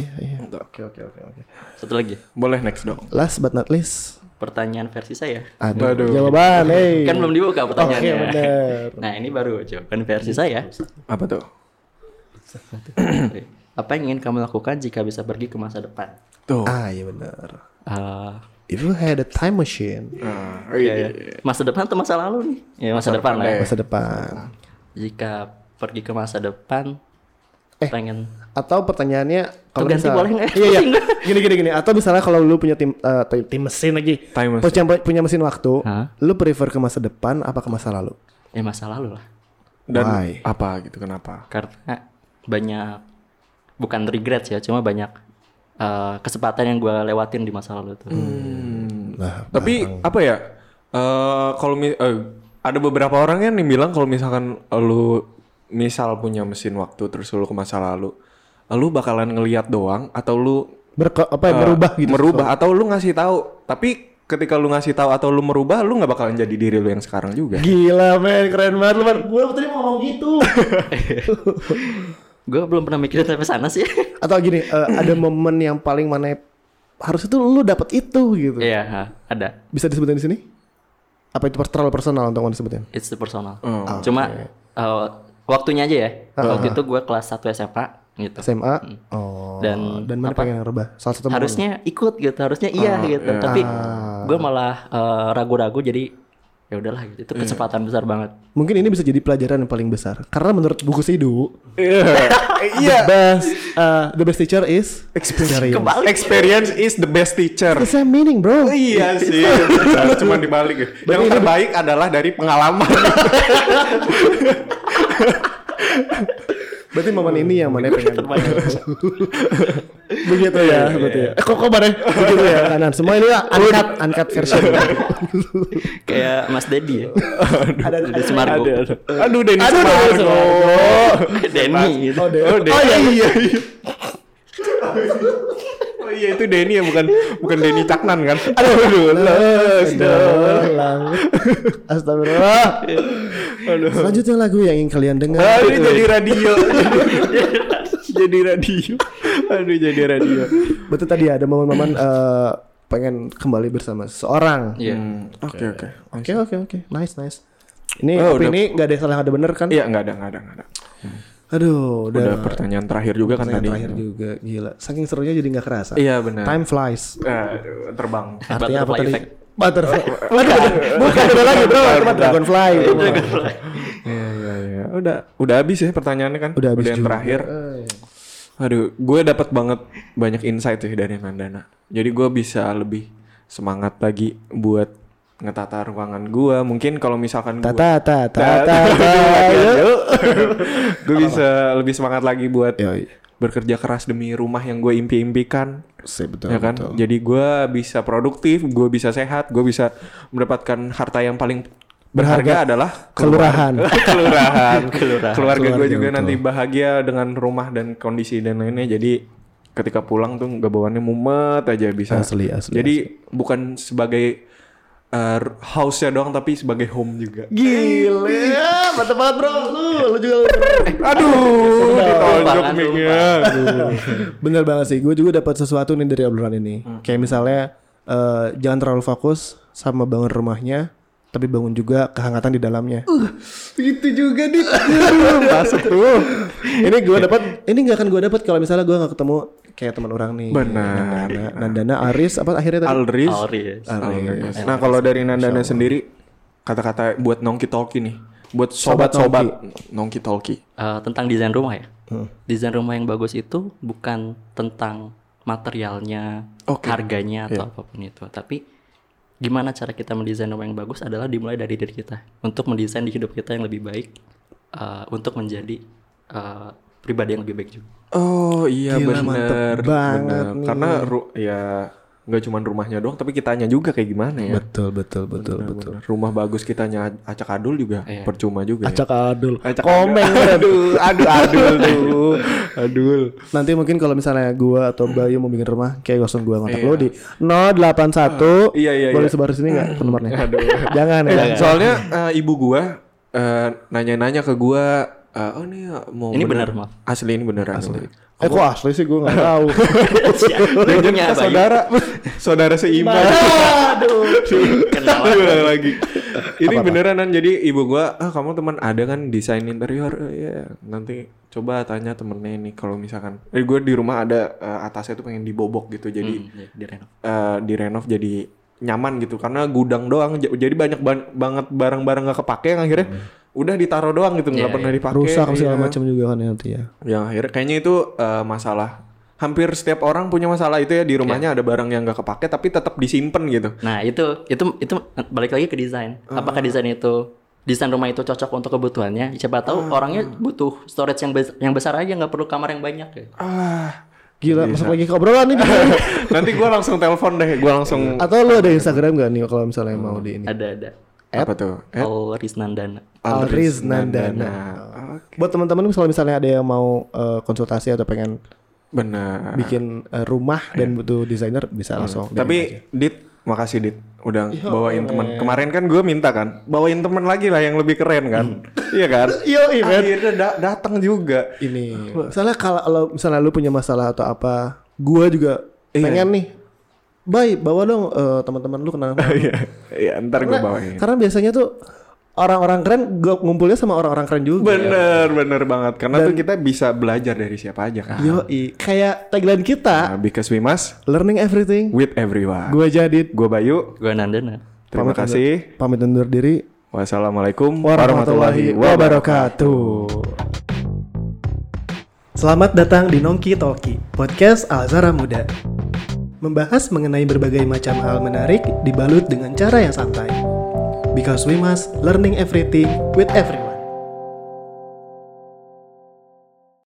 Speaker 1: Iya, iya.
Speaker 2: Oke.
Speaker 1: Oke oke oke oke.
Speaker 3: Satu lagi
Speaker 2: Boleh next dong.
Speaker 1: Last but not least.
Speaker 3: pertanyaan versi saya.
Speaker 1: Aduh.
Speaker 2: Waduh.
Speaker 1: Jawaban, hey.
Speaker 3: Kan
Speaker 1: Oh,
Speaker 3: belum dibuka
Speaker 1: iya,
Speaker 3: pertanyaannya.
Speaker 1: Oke, bener.
Speaker 3: Nah, ini baru jawaban versi
Speaker 1: Iya.
Speaker 3: saya.
Speaker 2: Apa tuh?
Speaker 3: Apa yang ingin kamu lakukan jika bisa pergi ke masa depan?
Speaker 2: Tuh.
Speaker 1: Ah iya benar.
Speaker 3: Eh,
Speaker 1: If you had a time machine
Speaker 2: Nah, iya, iya.
Speaker 3: masa depan atau masa lalu nih? Ya, masa, depan, lah. ya.
Speaker 1: masa depan.
Speaker 3: Jika pergi ke masa depan
Speaker 1: Eh.
Speaker 3: pengen
Speaker 1: Atau pertanyaannya kalau
Speaker 3: Tuh ganti
Speaker 1: misalnya-
Speaker 3: boleh nggak?
Speaker 1: Iya iya. Gini gini gini. Atau misalnya kalau lu punya tim eh, tim, tim mesin lagi.
Speaker 2: Time machine.
Speaker 1: Punya, punya mesin waktu.
Speaker 3: Hah?
Speaker 1: Lu prefer ke masa depan apa ke masa lalu?
Speaker 3: ya masa lalu lah.
Speaker 2: Dan
Speaker 1: Why?
Speaker 2: apa gitu kenapa?
Speaker 3: Karena banyak bukan regret ya, cuma banyak eh, kesempatan yang gua lewatin di masa lalu tuh.
Speaker 1: Nah,
Speaker 2: Tapi apa ya? Eh kalau mi- eh, ada beberapa orang kan yang bilang kalau misalkan lu misal punya mesin waktu terus lu ke masa lalu, lu bakalan ngelihat doang atau lu
Speaker 1: berko, apa ya,
Speaker 3: Eh,
Speaker 1: merubah gitu.
Speaker 2: merubah atau lu ngasih tahu tapi ketika lu ngasih tahu atau lu merubah lu nggak bakalan jadi diri lu yang sekarang juga
Speaker 1: Gila men, keren banget lu man. Gue tadi mau ngomong gitu.
Speaker 3: Gua belum pernah mikirin sampai sana sih.
Speaker 1: Atau gini, eh, ada momen yang paling mana harus itu lu dapat itu gitu.
Speaker 3: Iya, ha, ada.
Speaker 1: Bisa disebutin di sini? Apa itu per- terlalu personal untuk mau disebutin?
Speaker 3: It's the personal.
Speaker 2: Oh,
Speaker 3: Cuma uh, waktunya aja ya. Waktu itu gue kelas 1 SMA gitu.
Speaker 1: SMA. Oh.
Speaker 3: Dan
Speaker 1: mana
Speaker 3: apa?
Speaker 1: pengen ngerubah? Salah satu momen.
Speaker 3: Harusnya ikut gitu, harusnya iya gitu. Tapi gue malah uh, ragu-ragu jadi ya udahlah gitu. Itu kesempatan besar banget.
Speaker 1: Mungkin ini bisa jadi pelajaran yang paling besar. Karena menurut buku Sidu,
Speaker 2: iya
Speaker 1: the best eh, the best teacher is experience.
Speaker 3: Kebalik.
Speaker 2: experience is the best teacher
Speaker 1: It's the same meaning, bro.
Speaker 2: iya sih Nah, cuma dibalik ya. yang terbaik adalah dari pengalaman
Speaker 1: Berarti momen ini yang mana pengen begitu
Speaker 2: Iya,
Speaker 1: ya,
Speaker 2: Gitu
Speaker 1: berarti ya. Eh, kok kok mana? Begitu ya, kanan. Semua ini uncut, uncut version.
Speaker 3: Kayak Mas Dedi ya.
Speaker 1: ada,
Speaker 3: Dedi Sumargo.
Speaker 2: aduh Denny
Speaker 1: Aduh, Denny
Speaker 2: Sumargo
Speaker 3: Denny gitu.
Speaker 1: Oh, deh.
Speaker 2: oh,
Speaker 1: Oh,
Speaker 2: Denny.
Speaker 1: iya, iya.
Speaker 2: oh iya itu Denny ya bukan bukan Denny Caknan kan aduh aduh les, les.
Speaker 1: Ulang. Astagfirullah. Selanjutnya lagu yang ingin kalian dengar.
Speaker 2: Aduh jadi radio jadi radio aduh jadi radio
Speaker 1: Betul tadi ya, ada momen-momen eh, pengen kembali bersama seseorang.
Speaker 3: Iya.
Speaker 2: Hmm, oke oke
Speaker 1: Oke oke oke, nice nice. Ini
Speaker 2: Oh,
Speaker 1: opini
Speaker 2: udah.
Speaker 1: ini nggak ada yang salah nggak ada bener kan?
Speaker 2: iya nggak ada nggak ada nggak ada
Speaker 1: Aduh, udah,
Speaker 2: udah pertanyaan terakhir juga kan
Speaker 1: pertanyaan
Speaker 2: tadi
Speaker 1: Nah, terakhir juga gila. Saking serunya jadi nggak kerasa.
Speaker 2: iya benar
Speaker 1: Time flies.
Speaker 2: Aduh, terbang
Speaker 1: Artinya apa
Speaker 3: Butterfly
Speaker 1: tadi?
Speaker 3: effect.
Speaker 1: Butterfly. Bukan, bukan Iya, ada lagi bro. Itu mah Dragonfly. itu mah.
Speaker 2: Iya iya iya. Udah udah habis ya pertanyaannya kan?
Speaker 1: Udah habis
Speaker 2: yang
Speaker 1: juga.
Speaker 2: terakhir. Aduh, gue dapat banget banyak insight sih dari Nandana. Jadi gue bisa lebih semangat lagi buat ngetata ruangan gue. Mungkin kalau misalkan
Speaker 1: Ta
Speaker 2: gue
Speaker 1: ta ta ta ta. ta. iya.
Speaker 2: gue bisa lebih semangat lagi buat
Speaker 1: Yoi.
Speaker 2: bekerja keras demi rumah yang gue impi-impikan.
Speaker 1: Sip, betul.
Speaker 2: ya kan? Jadi gue bisa produktif, gue bisa sehat, gue bisa mendapatkan harta yang paling berharga adalah
Speaker 1: Kelurahan.
Speaker 2: kelurahan.
Speaker 3: Kelurahan.
Speaker 2: Keluarga gue
Speaker 1: Keluarga,
Speaker 2: juga
Speaker 1: betul.
Speaker 2: nanti bahagia dengan rumah dan kondisi dan lainnya. Jadi ketika pulang tuh nggak bawaannya mumet aja bisa.
Speaker 1: Asli, asli,
Speaker 2: Jadi bukan sebagai uh, house-nya doang tapi sebagai home juga.
Speaker 1: Gila, mantap banget bro. Lu, lu juga.
Speaker 2: Aduh, ditonjok
Speaker 3: Lupa kan,
Speaker 2: mic-nya.
Speaker 1: Bener banget sih. Gue juga dapat sesuatu nih dari obrolan ini. Kayak misalnya eh, jangan terlalu fokus sama bangun rumahnya, tapi bangun juga kehangatan di dalamnya. itu juga nih. Masuk tuh. Ini gue dapat. Ini nggak akan gue dapat kalau misalnya gue nggak ketemu kayak teman orang nih.
Speaker 2: Benar.
Speaker 1: Nandana, Nandana, Aris, apa akhirnya tadi?
Speaker 2: Aldris.
Speaker 3: Auris.
Speaker 1: Ah.
Speaker 2: Alright.
Speaker 3: iya.
Speaker 2: Nah kalau dari Nandana sendiri kata-kata buat Nongki Talki nih, buat sobat-sobat Nongki Talki.
Speaker 3: Eh, tentang desain rumah ya.
Speaker 1: Hmm.
Speaker 3: Desain rumah yang bagus itu bukan tentang materialnya,
Speaker 2: Oke.
Speaker 3: harganya
Speaker 1: Iya.
Speaker 3: atau apapun itu, tapi gimana cara kita mendesain rumah yang bagus adalah dimulai dari diri kita untuk mendesain di hidup kita yang lebih baik eh, untuk menjadi eh, pribadi yang lebih baik juga.
Speaker 2: Oh iya
Speaker 1: Gila,
Speaker 2: benar,
Speaker 1: mantep banget nih.
Speaker 2: Karena ru- ya nggak cuman rumahnya doang, tapi kitanya juga kayak gimana ya.
Speaker 1: Betul, betul, betul, betul.
Speaker 2: Bener. Rumah bagus kitanya acak adul juga
Speaker 3: Iya.
Speaker 2: percuma juga.
Speaker 1: Acak adul.
Speaker 2: Ya. Acak
Speaker 1: Komeng.
Speaker 2: adul. aduh, aduh, adul tuh, adul.
Speaker 1: Nanti mungkin kalau misalnya gua atau Bayu mau bikin rumah, kayak langsung gua kontak lo di 081.
Speaker 2: Iya, iya,
Speaker 1: Boleh
Speaker 2: iya.
Speaker 1: sebar sini nggak nomornya? Jangan ya.
Speaker 2: Eh, Soalnya eh, ibu gua eh, nanya-nanya ke gua, eh, oh ini mau
Speaker 3: Ini bener, maaf.
Speaker 2: Asli ini beneran. Asli.
Speaker 1: Eh kok asli sih gue
Speaker 2: Iya.
Speaker 1: gak tahu.
Speaker 2: Jangan
Speaker 3: Ujungnya apa?
Speaker 2: saudara, saudara seiman.
Speaker 1: Aduh.
Speaker 3: Kenal
Speaker 2: Aduh, ulang lagi. Ini beneran Nan. jadi ibu gua, ah kamu teman ada kan desain interior, Eh, ya nanti coba tanya temennya ini kalau misalkan, eh gue di rumah ada eh, atasnya tuh pengen dibobok gitu, jadi
Speaker 3: Hmm, iya, direnov.
Speaker 2: eh, direnov jadi nyaman gitu karena gudang doang j- jadi banyak ban- banget barang-barang nggak kepake yang akhirnya udah ditaruh doang gitu nggak
Speaker 3: Hmm. Iya,
Speaker 2: pernah
Speaker 3: iya.
Speaker 2: dipakai
Speaker 1: Rusak
Speaker 2: iya.
Speaker 1: segala macam juga kan nanti ya.
Speaker 2: yang akhirnya kayaknya itu eh, masalah hampir setiap orang punya masalah itu ya di rumahnya
Speaker 1: Iya.
Speaker 2: ada barang yang nggak kepake tapi tetap disimpan gitu
Speaker 3: Nah itu itu itu balik lagi ke desain. Apakah desain itu desain rumah itu cocok untuk kebutuhannya? Siapa tahu orangnya butuh storage yang bes- yang besar aja nggak perlu kamar yang banyak. ya.
Speaker 2: ah
Speaker 1: Gila, masuk lagi ke obrolan nih. gimana?
Speaker 2: nanti gua langsung telepon deh gua langsung
Speaker 1: Atau lu ada Instagram gak nih kalau misalnya mau di ini?
Speaker 3: Ada ada.
Speaker 2: apa tuh Eh,
Speaker 3: Alris Nandana.
Speaker 1: Alriz
Speaker 2: Nandana.
Speaker 1: Nandana. Buat teman-teman misalnya misalnya ada yang mau eh, konsultasi atau pengen
Speaker 2: bener
Speaker 1: bikin eh, rumah dan butuh desainer bisa langsung.
Speaker 2: Ah.
Speaker 1: DM
Speaker 2: Iya. Tapi
Speaker 1: aja.
Speaker 2: Dit, makasih Dit udah bawain teman. Kemarin kan gue minta kan, bawain teman lagi lah yang lebih keren kan. iya kan?
Speaker 1: Yo, iya, man.
Speaker 2: Akhirnya da- datang juga.
Speaker 1: ini misalnya kalau kalau misalnya lu punya masalah atau apa gua juga pengen nih baik bawa dong eh, teman-teman lu kenal
Speaker 2: Iya, iya ntar gue bawain.
Speaker 1: karena biasanya tuh orang-orang keren gua ngumpulnya sama orang-orang keren juga
Speaker 2: Bener, bener banget. Karena tuh kita bisa belajar dari siapa aja kan.
Speaker 1: yo kayak tagline kita
Speaker 2: Nah, because we must
Speaker 1: learning everything
Speaker 2: with everyone.
Speaker 1: gua jadi
Speaker 2: Gue Bayu,
Speaker 3: Gue Nandana.
Speaker 2: terima
Speaker 1: Pamit undur-
Speaker 2: kasih.
Speaker 1: pamit undur diri
Speaker 2: Wassalamualaikum
Speaker 1: warahmatullahi wabarakatuh
Speaker 4: Selamat datang di Nongki Talki, podcast Alzara Muda. Membahas mengenai berbagai macam hal menarik dibalut dengan cara yang santai. Because we must learning everything with everyone.